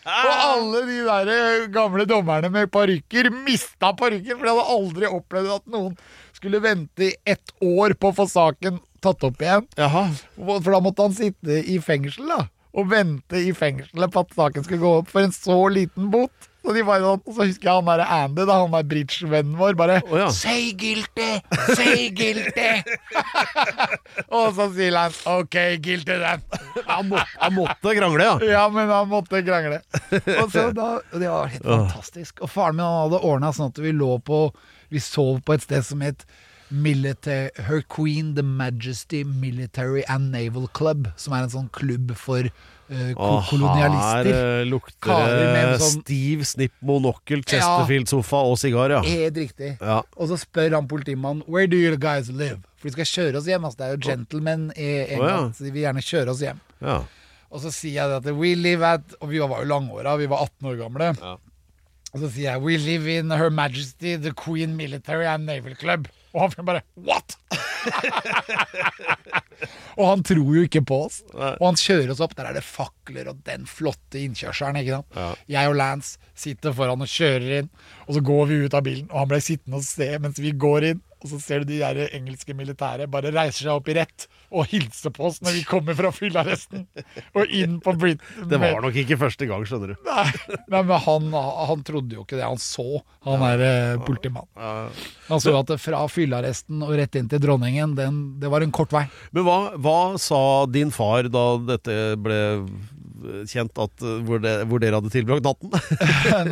[SPEAKER 3] alle de der eh, gamle dommerne med parykker mista parykken, for de hadde aldri opplevd at noen skulle vente i ett år på å få saken tatt opp igjen.
[SPEAKER 2] Jaha.
[SPEAKER 3] Hvor- For da måtte han sitte i fengsel da Og vente i fengselet på at saken skulle gå opp For en så liten bot så de bare, sånn- og så husker jeg han der Andy da, han er bridgevennen vår, bare
[SPEAKER 2] Å, ja.
[SPEAKER 3] Say guilty, say guilty Og så sier han, ok, guilty then han, må, han må
[SPEAKER 2] Det er krangle, ja.
[SPEAKER 3] ja, men han måtte krangle. Og så da, og det var helt fantastisk. Og faren min han hadde ordna sånn at vi lå på Vi sov på et sted som het Military, Her Queen The Majesty Military and Naval Club, som er en sånn klubb for eh, ko
[SPEAKER 2] Og
[SPEAKER 3] kolonialister.
[SPEAKER 2] Her eh, lukter
[SPEAKER 3] Karer med
[SPEAKER 2] det
[SPEAKER 3] en sånn-
[SPEAKER 2] stiv snipp monokkel, Chesterfield-sofa og sigar, ja.
[SPEAKER 3] Helt riktig.
[SPEAKER 2] Ja.
[SPEAKER 3] Og så spør han politimannen Where do you guys live? For de skal kjøre oss hjem. Altså, det er jo gentlemen i
[SPEAKER 2] Å, ja.
[SPEAKER 3] England, så de vil gjerne kjøre oss hjem.
[SPEAKER 2] ja.
[SPEAKER 3] Og så sier jeg det at We live at Og vi var jo langåra, vi var 18 år gamle. Og så sier jeg We live in Her Majesty The Queen Military and Naval Club. Og han fyren bare What?! og han tror jo ikke på oss. Og han kjører oss opp. Der er det fakler og den flotte innkjørselen. Ikke sant? Jeg og Lance sitter foran og kjører inn, og så går vi ut av bilen. Og han ble sittende og se mens vi går inn. Og så ser du de der engelske militære bare reiser seg opp i rett og hilser på oss når vi kommer fra fyllearresten og inn på Britain.
[SPEAKER 2] Det var nok ikke første gang, skjønner du.
[SPEAKER 3] Nei, nei, men han, han trodde jo ikke det han så, han er eh, politimann. Han så at det fra fyllearresten og rett inn til dronningen, den, det var en kort vei.
[SPEAKER 2] Men hva, hva sa din far da dette ble kjent at eh, hvor, det, hvor dere hadde tilbrakt natten?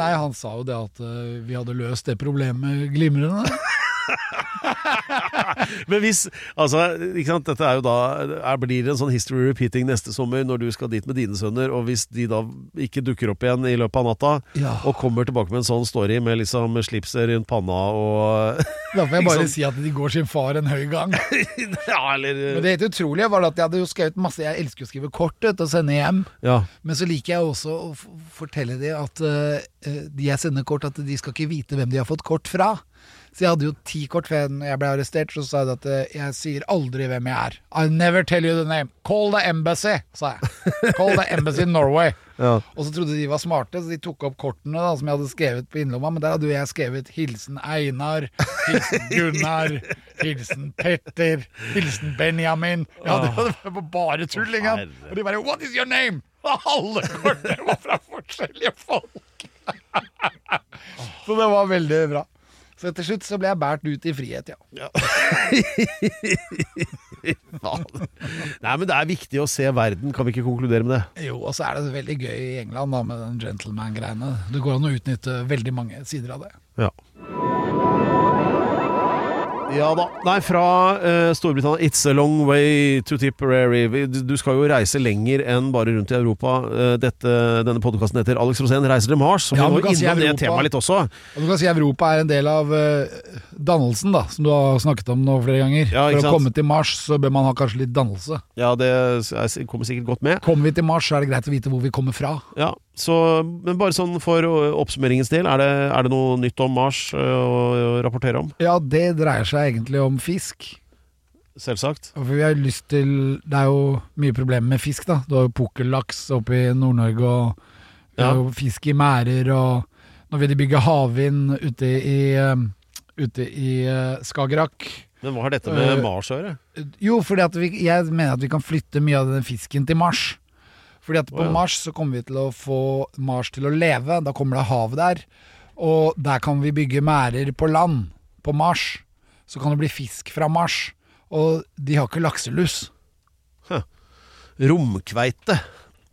[SPEAKER 3] nei, han sa jo det at eh, vi hadde løst det problemet glimrende.
[SPEAKER 2] Men hvis Altså, ikke sant, dette er jo da er, Blir det en sånn history repeating neste sommer når du skal dit med dine sønner, og hvis de da ikke dukker opp igjen i løpet av natta,
[SPEAKER 3] Ja.
[SPEAKER 2] og kommer tilbake med en sånn story med liksom slipset rundt panna og
[SPEAKER 3] Da får jeg
[SPEAKER 2] Ikke
[SPEAKER 3] bare
[SPEAKER 2] sant?
[SPEAKER 3] si at de går sin far en høy gang.
[SPEAKER 2] Ja, eller
[SPEAKER 3] Men det helt utrolige var at jeg hadde jo skrevet masse, jeg elsker å skrive kort vet du, og sende hjem.
[SPEAKER 2] Ja.
[SPEAKER 3] Men så liker jeg også å f- fortelle dem at eh, eh, de jeg sender kort, at de skal ikke vite hvem de har fått kort fra. Så jeg hadde jo ti kort før jeg- når jeg ble arrestert, så sa jeg at eh, jeg sier aldri hvem jeg er. I never tell you the name. Call the embassy, sa jeg. Call the embassy in Norway. Og så trodde de var smarte, så de tok opp kortene da, som jeg hadde skrevet på innlomma, men der hadde jo jeg skrevet 'Hilsen Einar', 'Hilsen Gunnar', 'Hilsen Petter', 'Hilsen Benjamin'. Ja, det var bare tull, ikke sant? Og de bare 'What is your name?' Og alle kortene var fra forskjellige folk. Så det var veldig bra. Så til slutt så ble jeg båret ut i frihet, ja.
[SPEAKER 2] Fader. Nei, men det er viktig å se verden, kan vi ikke konkludere med det?
[SPEAKER 3] Jo, og så er det veldig gøy i England da med den gentleman-greiene. Det går an å utnytte veldig mange sider av det.
[SPEAKER 2] Ja. Ja da. Nei, fra eh, Storbritannia It's a long way to Tipperary. Vi- Du du skal jo reise lenger enn bare rundt i Europa. Eh, Dette, denne podkasten heter 'Alex Rosén reiser til Mars'. Så
[SPEAKER 3] Ja,
[SPEAKER 2] vi
[SPEAKER 3] men
[SPEAKER 2] må
[SPEAKER 3] du kan si
[SPEAKER 2] innom det
[SPEAKER 3] Europa.
[SPEAKER 2] temaet litt også.
[SPEAKER 3] Og du kan si Europa er en del av eh, dannelsen, da, som du har snakket om nå flere ganger.
[SPEAKER 2] Ja, ikke
[SPEAKER 3] For å
[SPEAKER 2] sant?
[SPEAKER 3] komme til Mars så bør man ha kanskje litt dannelse.
[SPEAKER 2] Ja, det er- kommer sikkert godt med.
[SPEAKER 3] Kommer vi til Mars, så er det greit å vite hvor vi kommer fra.
[SPEAKER 2] Ja, så, Men bare sånn for eh, oppsummeringens del, er det, er det noe nytt om Mars eh, å å rapportere om?
[SPEAKER 3] Ja, det dreier seg egentlig om fisk.
[SPEAKER 2] Selvsagt.
[SPEAKER 3] Og For vi har lyst til Det er jo mye problemer med fisk, da. Du har jo pukkellaks oppe i Nord-Norge, og vi har
[SPEAKER 2] Ja.
[SPEAKER 3] jo fisk i merder, og nå vil de bygge havvind ute i, eh, ute i eh, Skagerrak.
[SPEAKER 2] Men hva har dette med
[SPEAKER 3] Eh,
[SPEAKER 2] Mars å gjøre?
[SPEAKER 3] Jo, fordi at vi, jeg mener at vi kan flytte mye av den fisken til Mars. Fordi at på
[SPEAKER 2] Å, ja.
[SPEAKER 3] Mars så kommer vi til å få Mars til å leve. Da kommer det hav der. Og der kan vi bygge merder på land. På Mars. Så kan det bli fisk fra Mars. Og de har ikke lakselus.
[SPEAKER 2] Romkveite.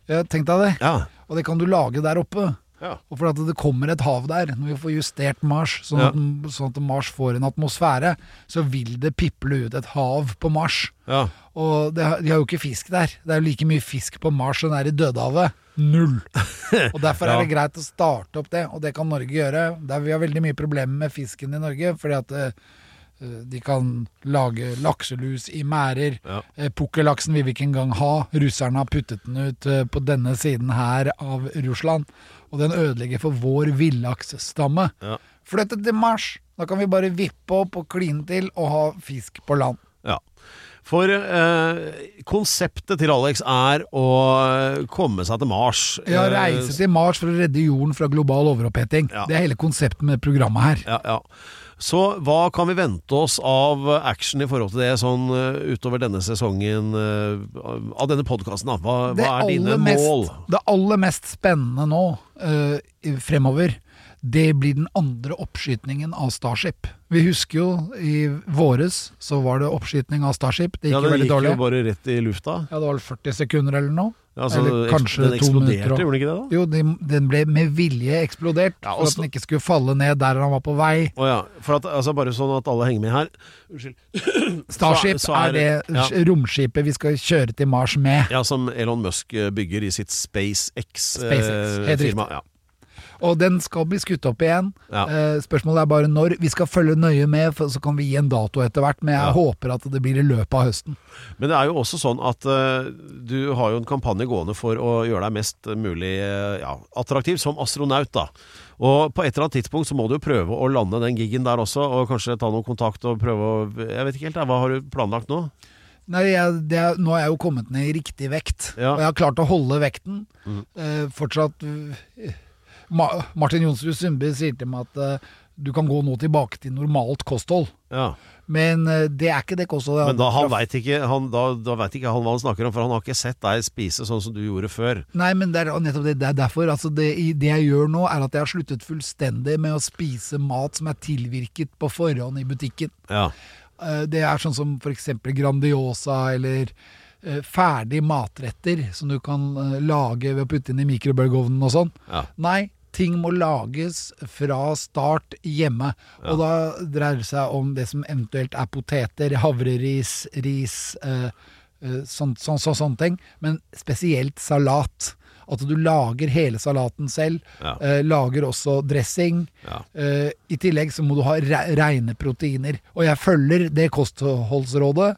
[SPEAKER 3] Ja, Tenk deg det.
[SPEAKER 2] Ja.
[SPEAKER 3] Og det kan du lage der oppe.
[SPEAKER 2] Ja.
[SPEAKER 3] Og for at det kommer et hav der, når vi får justert Mars, sånn,
[SPEAKER 2] Ja.
[SPEAKER 3] at, sånn at Mars får en atmosfære, så vil det piple ut et hav på Mars.
[SPEAKER 2] ja.
[SPEAKER 3] Og det, har- de har jo ikke fisk der. Det er jo like mye fisk på Mars som det er i Dødehavet. Null. Og derfor er det greit å starte opp det, og det kan Norge gjøre. Der vi har veldig mye problemer med fisken i Norge, fordi at eh, de kan lage lakselus i merder.
[SPEAKER 2] Ja.
[SPEAKER 3] Eh, Pukkellaksen vil vi ikke engang ha. Russerne har puttet den ut eh, på denne siden her av Russland. Og den ødelegger for vår villaksstamme.
[SPEAKER 2] Ja.
[SPEAKER 3] Flytt det til Mars! Da kan vi bare vippe opp og kline til og ha fisk på land.
[SPEAKER 2] Ja. For eh, konseptet til Alex er å komme seg til Mars.
[SPEAKER 3] Ja, reise til Mars for å redde jorden fra global overoppheting.
[SPEAKER 2] Eh, Ja.
[SPEAKER 3] Det er hele konseptet med programmet her.
[SPEAKER 2] Ja, ja. Så hva kan vi vente oss av action i forhold til det sånn eh, utover denne sesongen eh, av denne podkasten? Hva,
[SPEAKER 3] det
[SPEAKER 2] hva er dine
[SPEAKER 3] aller mest,
[SPEAKER 2] mål?
[SPEAKER 3] Det aller mest spennende nå, eh, i- fremover, det blir den andre oppskytningen av Starship. Vi husker jo i våres så var det oppskytning av Starship. Det gikk
[SPEAKER 2] Ja,
[SPEAKER 3] jo
[SPEAKER 2] den
[SPEAKER 3] veldig
[SPEAKER 2] gikk
[SPEAKER 3] dårlig.
[SPEAKER 2] jo bare rett i lufta.
[SPEAKER 3] Ja, det var vel 40 sekunder eller noe.
[SPEAKER 2] Ja, så
[SPEAKER 3] Eller
[SPEAKER 2] eks-
[SPEAKER 3] kanskje
[SPEAKER 2] den
[SPEAKER 3] to
[SPEAKER 2] eksploderte,
[SPEAKER 3] minutter, og-
[SPEAKER 2] gjorde den ikke det da?
[SPEAKER 3] Jo, den, den ble med vilje eksplodert
[SPEAKER 2] Ja, og
[SPEAKER 3] for at
[SPEAKER 2] sto-
[SPEAKER 3] den ikke skulle falle ned der han var på vei.
[SPEAKER 2] Å ja. For at, altså, bare sånn at alle henger med her.
[SPEAKER 3] Starship
[SPEAKER 2] så
[SPEAKER 3] er,
[SPEAKER 2] er-
[SPEAKER 3] det romskipet vi skal kjøre til Mars med.
[SPEAKER 2] Ja, som Elon Musk eh, bygger i sitt SpaceX-firma.
[SPEAKER 3] SpaceX, helt riktig.
[SPEAKER 2] ja.
[SPEAKER 3] Og den skal bli skutt opp igjen.
[SPEAKER 2] Ja.
[SPEAKER 3] Eh, spørsmålet er bare når. Vi skal følge nøye med, for så kan vi gi en dato etter hvert. Men jeg
[SPEAKER 2] Ja.
[SPEAKER 3] håper at det blir i løpet av høsten.
[SPEAKER 2] Men det er jo også sånn at eh, du har jo en kampanje gående for å gjøre deg mest mulig eh, ja, attraktiv som astronaut, da. Og på et eller annet tidspunkt så må du jo prøve å lande den gigen der også, og kanskje ta noen kontakt og prøve å Jeg vet ikke helt, da. Hva har du planlagt nå?
[SPEAKER 3] Nei, jeg, det, er- nå er jeg jo kommet ned i riktig vekt,
[SPEAKER 2] Ja. Mm.
[SPEAKER 3] og jeg har klart å holde vekten. Eh, fortsatt eh, Ma Martin Jonsrud Sundby sier til meg at eh, du kan gå nå tilbake til normalt kosthold.
[SPEAKER 2] Ja.
[SPEAKER 3] Men eh, det er ikke det kostholdet. jeg
[SPEAKER 2] Men da,
[SPEAKER 3] hadde
[SPEAKER 2] han
[SPEAKER 3] fra-
[SPEAKER 2] veit ikke, han- da, da vet ikke han hva han snakker om, for han har ikke sett deg spise sånn som du gjorde før.
[SPEAKER 3] Nei, men det er nettopp det. Det er derfor. Altså det, i- det jeg gjør nå, er at jeg har sluttet fullstendig med å spise mat som er tilvirket på forhånd i butikken.
[SPEAKER 2] Ja.
[SPEAKER 3] Eh, Det er sånn som for eksempel Grandiosa eller eh, ferdig matretter som du kan eh, lage ved å putte inn i mikrobølgeovnen og sånn.
[SPEAKER 2] Ja.
[SPEAKER 3] Nei, ting må lages fra start hjemme. Og da dreier det seg om det som eventuelt er poteter, havreris, ris, eh, eh, sånn, sånn, sånn, sånne ting. Men spesielt salat. At du lager hele salaten selv.
[SPEAKER 2] Ja.
[SPEAKER 3] Eh, lager også dressing.
[SPEAKER 2] Ja.
[SPEAKER 3] Eh, I tillegg så må du ha re- reine proteiner. Og jeg følger det kostholdsrådet.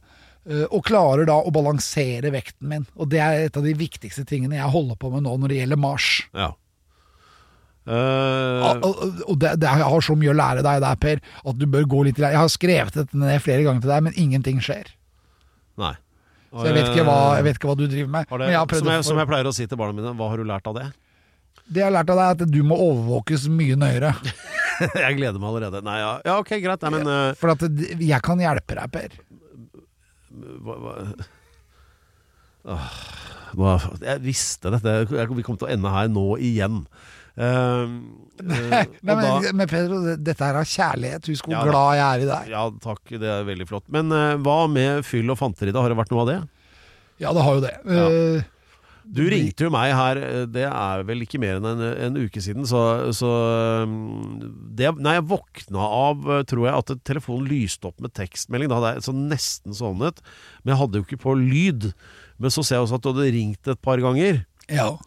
[SPEAKER 3] eh, Og klarer da å balansere vekten min. Og det er et av de viktigste tingene jeg holder på med nå når det gjelder Mars.
[SPEAKER 2] ja. Eh,
[SPEAKER 3] Og- og- og det, det, jeg har så mye å lære deg der, Per, at du bør gå litt i det. Jeg har skrevet dette ned flere ganger til deg, men ingenting skjer.
[SPEAKER 2] nei.
[SPEAKER 3] Så jeg vet ikke hva, jeg vet ikke hva du driver med.
[SPEAKER 2] Har
[SPEAKER 3] men jeg har
[SPEAKER 2] det,
[SPEAKER 3] prøvd
[SPEAKER 2] som, jeg,
[SPEAKER 3] å-
[SPEAKER 2] som jeg pleier å si til barna mine, hva har du lært av det?
[SPEAKER 3] Det jeg har lært av deg, er at du må overvåkes mye nøyere.
[SPEAKER 2] jeg gleder meg allerede. Nei, ja, ja ok, greit. Nei, men eh,
[SPEAKER 3] For at det- jeg kan hjelpe deg, Per.
[SPEAKER 2] hva, hva? Åh, nå- Jeg visste dette. Jeg, vi kom til å ende her nå igjen. Eh, eh,
[SPEAKER 3] Nei,
[SPEAKER 2] og da-
[SPEAKER 3] men, men Pedro, det- dette her er kjærlighet. Husk hvor
[SPEAKER 2] Ja, da.
[SPEAKER 3] glad jeg er i deg.
[SPEAKER 2] Ja, takk. Det er veldig flott. Men eh, hva med fyll og fanter i det? Har det vært noe av det?
[SPEAKER 3] Ja, det har jo det. Eh,
[SPEAKER 2] Du ringte jo meg her, eh, det er vel ikke mer enn en, en uke siden, så, så mm, det, Nei, jeg våkna av, eh, tror jeg, at telefonen lyste opp med tekstmelding. Da hadde jeg så nesten sovnet, men jeg hadde jo ikke på lyd. Men så ser jeg også at du hadde ringt et par ganger.
[SPEAKER 3] ja.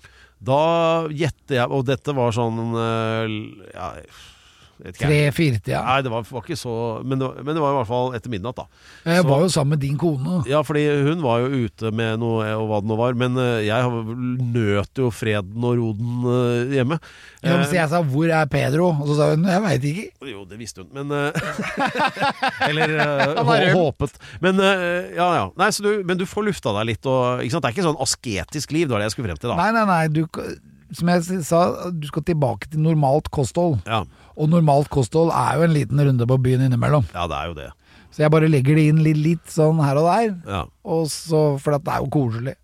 [SPEAKER 2] Da gjetter jeg, og dette var sånn eh, l- ja, jeg vet ikke, jeg.
[SPEAKER 3] Tre-fire-tida.
[SPEAKER 2] Nei, det var, var ikke så men det, var- men det var i hvert fall etter midnatt, da.
[SPEAKER 3] Jeg
[SPEAKER 2] så-
[SPEAKER 3] var jo sammen med din kone.
[SPEAKER 2] Ja, fordi hun var jo ute med noe og hva det nå var, men eh, jeg har- nøt jo freden og roden eh, hjemme.
[SPEAKER 3] Ja, men
[SPEAKER 2] Eh,
[SPEAKER 3] så jeg sa 'hvor er Pedro?' Og så sa hun 'jeg veit ikke'.
[SPEAKER 2] Jo, det visste hun, men eh, Eller eh,
[SPEAKER 3] var
[SPEAKER 2] hå-
[SPEAKER 3] rød.
[SPEAKER 2] håpet. Men eh, ja, ja. Nei, så du, men du får lufta deg litt og ikke sant? Det er ikke sånn asketisk liv, det var det jeg skulle frem til, da.
[SPEAKER 3] Nei, nei, nei. Du, som jeg sa, du skal tilbake til normalt kosthold.
[SPEAKER 2] Ja,
[SPEAKER 3] Og normalt kosthold er jo en liten runde på byen innimellom.
[SPEAKER 2] ja, det er jo det.
[SPEAKER 3] Så jeg bare legger det inn litt, litt sånn her og der.
[SPEAKER 2] Ja,
[SPEAKER 3] Og så, for at det er jo koselig.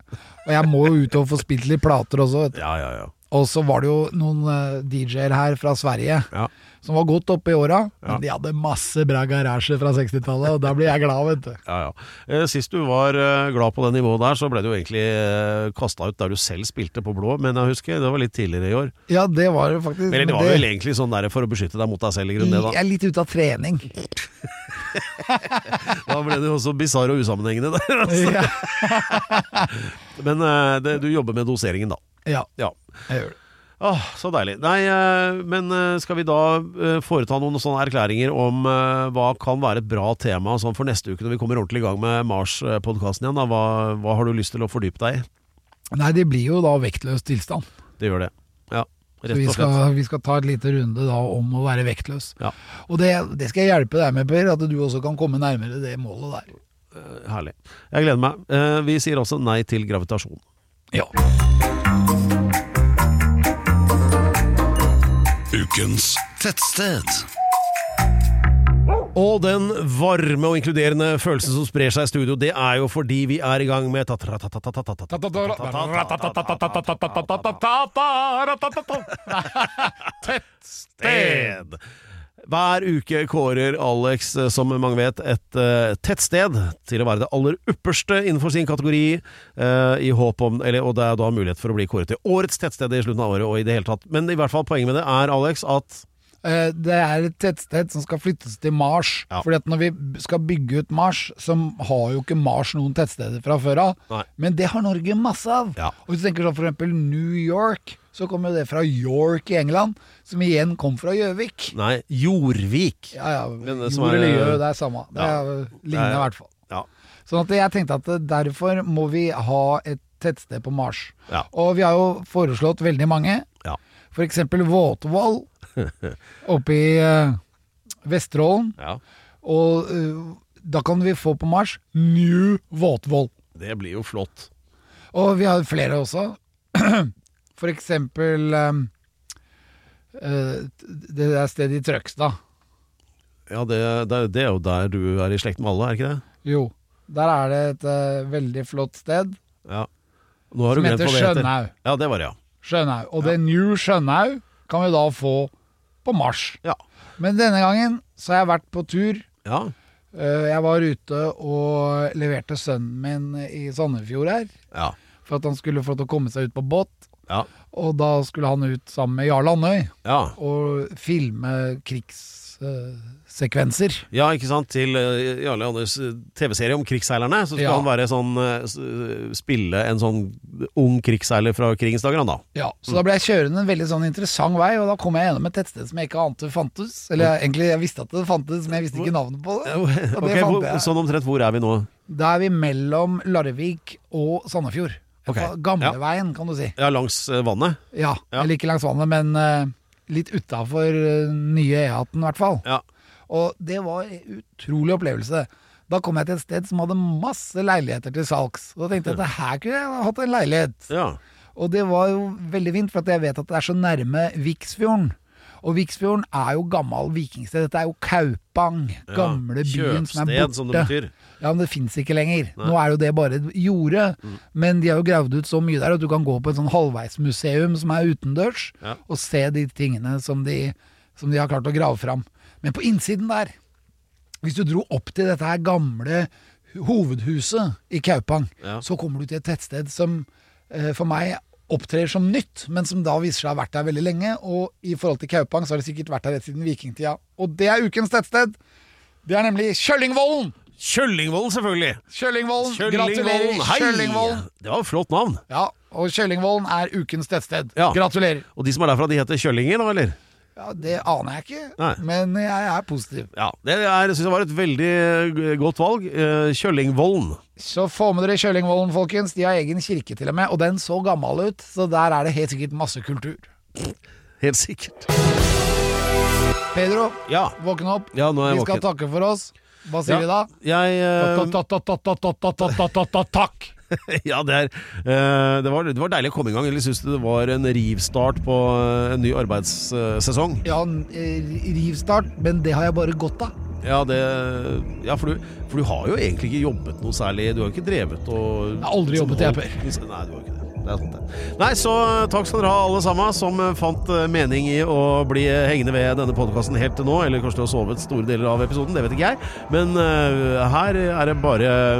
[SPEAKER 3] Og jeg må jo ut og få spilt litt plater også. Vet du.
[SPEAKER 2] ja, ja. ja.
[SPEAKER 3] Og så var det jo noen eh, DJ-er her fra Sverige
[SPEAKER 2] Ja.
[SPEAKER 3] som var godt oppe i åra.
[SPEAKER 2] Ja.
[SPEAKER 3] Men de hadde masse bra garasje fra 60-tallet, og da blir jeg glad, vet du.
[SPEAKER 2] Ja, ja. Eh, Sist du var eh, glad på det nivået der, så ble du egentlig kasta ut der du selv spilte på blå, men jeg husker det var litt tidligere i år.
[SPEAKER 3] Ja, det var det faktisk.
[SPEAKER 2] Eller det
[SPEAKER 3] men
[SPEAKER 2] var vel egentlig sånn der for å beskytte deg mot deg selv i grunnen det
[SPEAKER 3] jeg
[SPEAKER 2] da.
[SPEAKER 3] er litt ute av trening.
[SPEAKER 2] Da ble det jo også bisarr og usammenhengende der. Altså.
[SPEAKER 3] Ja,
[SPEAKER 2] Men eh, det, du jobber med doseringen da.
[SPEAKER 3] ja
[SPEAKER 2] Ja.
[SPEAKER 3] jeg gjør det.
[SPEAKER 2] Åh, så deilig. Nei, eh, men eh, skal vi da eh, foreta noen sånne erklæringer om eh, hva kan være et bra tema sånn for neste uke når vi kommer ordentlig i gang med Mars-podkasten igjen? Da? Hva, hva har du lyst til å fordype deg i?
[SPEAKER 3] Nei, det blir jo da vektløs tilstand.
[SPEAKER 2] Det gjør det. Ja,
[SPEAKER 3] Så
[SPEAKER 2] rett
[SPEAKER 3] vi
[SPEAKER 2] og slett.
[SPEAKER 3] skal, vi skal ta et lite runde da om å være vektløs.
[SPEAKER 2] Ja.
[SPEAKER 3] Og det, det skal jeg hjelpe deg med, Per, at du også kan komme nærmere det målet der.
[SPEAKER 2] Herlig. Jeg gleder meg. Eh, Vi sier også nei til gravitasjon.
[SPEAKER 3] Ja.
[SPEAKER 5] Ukens tettsted.
[SPEAKER 2] Og den varme og inkluderende følelsen som sprer seg i studio, det er jo fordi vi er i gang med Tettsted! Hver uke kårer Alex, eh, som mange vet, et eh, tettsted til å være det aller ypperste innenfor sin kategori. eh, i håp om, eller, og det er da mulighet for å bli kåret til årets tettsted i slutten av året og i det hele tatt. Men i hvert fall poenget med det er, Alex, at
[SPEAKER 3] Eh, Det er et tettsted som skal flyttes til Mars.
[SPEAKER 2] Ja.
[SPEAKER 3] Fordi at når vi b- skal bygge ut Mars, så har jo ikke Mars noen tettsteder fra før av.
[SPEAKER 2] Nei.
[SPEAKER 3] Men det har Norge masse av.
[SPEAKER 2] Ja.
[SPEAKER 3] Og hvis du tenker sånn for eksempel New York, så kommer jo det fra York i England, som igjen kom fra Gjøvik.
[SPEAKER 2] Nei, Jorvik.
[SPEAKER 3] Ja, ja.
[SPEAKER 2] Men det som
[SPEAKER 3] Jord
[SPEAKER 2] er-
[SPEAKER 3] eller gjø, det er samme. Det
[SPEAKER 2] Ja.
[SPEAKER 3] er
[SPEAKER 2] Det
[SPEAKER 3] lignende
[SPEAKER 2] er-
[SPEAKER 3] i hvert fall.
[SPEAKER 2] Ja.
[SPEAKER 3] Sånn at jeg tenkte at derfor må vi ha et tettsted på Mars.
[SPEAKER 2] Ja.
[SPEAKER 3] Og vi har jo foreslått veldig mange.
[SPEAKER 2] Ja.
[SPEAKER 3] For eksempel Våtvoll oppe i eh, Vesterålen.
[SPEAKER 2] ja.
[SPEAKER 3] Og eh, da kan vi få på Mars New Våtvoll.
[SPEAKER 2] Det blir jo flott.
[SPEAKER 3] Og vi har flere også. For eksempel eh, eh, det der stedet i Trøgstad.
[SPEAKER 2] Ja, det, det, det er jo der du er i slekt med alle, er ikke det?
[SPEAKER 3] Jo, der er det et eh, veldig flott sted
[SPEAKER 2] Ja. Nå har
[SPEAKER 3] som
[SPEAKER 2] du glemt
[SPEAKER 3] heter
[SPEAKER 2] hva det heter.
[SPEAKER 3] Skjønhaug.
[SPEAKER 2] Ja, det var det, ja.
[SPEAKER 3] Skjønhaug. Og det New Skjønhaug kan vi da få på Mars.
[SPEAKER 2] Ja.
[SPEAKER 3] Men denne gangen så har jeg vært på tur.
[SPEAKER 2] Ja,
[SPEAKER 3] Eh, Jeg var ute og leverte sønnen min i Sandefjord her,
[SPEAKER 2] ja.
[SPEAKER 3] for at han skulle få lov til å komme seg ut på båt.
[SPEAKER 2] ja.
[SPEAKER 3] Og da skulle han ut sammen med Jarl Andøy
[SPEAKER 2] ja.
[SPEAKER 3] og filme krigssekvenser.
[SPEAKER 2] Ja, ikke sant? Til eh, Jarle Anders eh, TV-serie om krigsseilerne. Så skal
[SPEAKER 3] Ja.
[SPEAKER 2] han være sånn eh, s- Spille en sånn ung krigsseiler fra krigens dager, han da.
[SPEAKER 3] Ja, så da ble jeg kjørende en veldig sånn interessant vei, og da kom jeg gjennom et tettsted som jeg ikke ante fantes. Eller jeg, egentlig, jeg visste at det fantes, men jeg visste ikke navnet på det. Og
[SPEAKER 2] Ok, hvor,
[SPEAKER 3] det fant jeg.
[SPEAKER 2] sånn omtrent, hvor er vi nå?
[SPEAKER 3] Da er vi mellom Larvik og Sandefjord.
[SPEAKER 2] Ok.
[SPEAKER 3] Gamleveien, kan du si.
[SPEAKER 2] Ja, langs eh, vannet?
[SPEAKER 3] Ja,
[SPEAKER 2] Ja.
[SPEAKER 3] Eller ikke langs vannet, men eh, litt utafor eh, nye E18 i hvert fall.
[SPEAKER 2] Ja.
[SPEAKER 3] Og det var en utrolig opplevelse. Da kom jeg til et sted som hadde masse leiligheter til salgs. Og da tenkte jeg at her kunne jeg hatt en leilighet.
[SPEAKER 2] ja.
[SPEAKER 3] Og det var jo veldig fint, for at jeg vet at det er så nærme Viksfjorden. Og Viksfjorden er jo gammel vikingsted. Dette er jo Kaupang, gamle byen som er
[SPEAKER 2] Kjøpsted,
[SPEAKER 3] borte.
[SPEAKER 2] som det betyr.
[SPEAKER 3] Ja, men det fins ikke lenger. Nå er jo det bare et jorde.
[SPEAKER 2] Mm.
[SPEAKER 3] Men de har jo gravd ut så mye der at du kan gå på et sånn halvveismuseum som er utendørs,
[SPEAKER 2] Ja.
[SPEAKER 3] og se de tingene som de, som de har klart å grave fram. Men på innsiden der, hvis du dro opp til dette her gamle hovedhuset i Kaupang,
[SPEAKER 2] Ja.
[SPEAKER 3] så kommer du til et tettsted som eh, for meg opptrer som nytt, men som da viser seg å ha vært der veldig lenge. Og i forhold til Kaupang så har det sikkert vært der rett siden vikingtida. Og det er ukens tettsted! Det er nemlig Kjøllingvollen!
[SPEAKER 2] Kjøllingvollen, selvfølgelig.
[SPEAKER 3] Kjøllingvollen, gratulerer.
[SPEAKER 2] Kjøllingvollen, hei!
[SPEAKER 3] Kjøllingvollen.
[SPEAKER 2] Det var et flott navn.
[SPEAKER 3] Ja, og Kjøllingvollen er ukens tettsted.
[SPEAKER 2] Ja.
[SPEAKER 3] Gratulerer.
[SPEAKER 2] Og de som er derfra, de heter Kjøllinger, da, eller?
[SPEAKER 3] Ja, Det aner jeg ikke,
[SPEAKER 2] Nei.
[SPEAKER 3] men jeg er positiv.
[SPEAKER 2] Ja, det er, synes jeg var et veldig eh, godt valg. Eh, Kjøllingvollen.
[SPEAKER 3] Så få med dere Kjøllingvollen, folkens. De har egen kirke til og med, og den så gammel ut, så der er det helt sikkert masse kultur.
[SPEAKER 2] Helt sikkert.
[SPEAKER 3] Pedro,
[SPEAKER 2] Ja.
[SPEAKER 3] våkne opp.
[SPEAKER 2] Ja, nå er jeg
[SPEAKER 3] Vi skal
[SPEAKER 2] våken.
[SPEAKER 3] takke for oss. Hva sier vi da?
[SPEAKER 2] Jeg eh,
[SPEAKER 3] Ta-ta-ta-ta-ta-ta-ta-ta-ta-takk!
[SPEAKER 2] Ja, det, er, eh, det, var, det var deilig å komme i gang. Jeg syns det var en rivstart på eh, en ny arbeidssesong.
[SPEAKER 3] Ja, en, eh, rivstart, men det har jeg bare godt av.
[SPEAKER 2] Ja, det, ja for, du, for du har jo egentlig ikke jobbet noe særlig. Du har jo ikke drevet og
[SPEAKER 3] Jeg har aldri jobbet, jeg, Per.
[SPEAKER 2] jeg, Nei, du har ikke det. Det er sant, det. Nei, så eh, takk skal dere ha, alle sammen, som eh, fant eh, mening i å bli eh, hengende ved denne podkasten helt til nå. Eller kanskje du har sovet store deler av episoden, det vet ikke jeg. Men eh, her er det bare eh,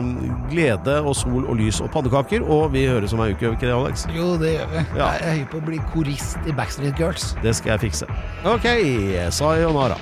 [SPEAKER 2] glede og sol og lys og pannekaker, og vi høres om ei uke, ikke det, Alex?
[SPEAKER 3] Jo, det gjør vi.
[SPEAKER 2] Ja.
[SPEAKER 3] Jeg er høy på å bli korist i Backstreet Girls.
[SPEAKER 2] Det skal jeg fikse. OK, sayonara.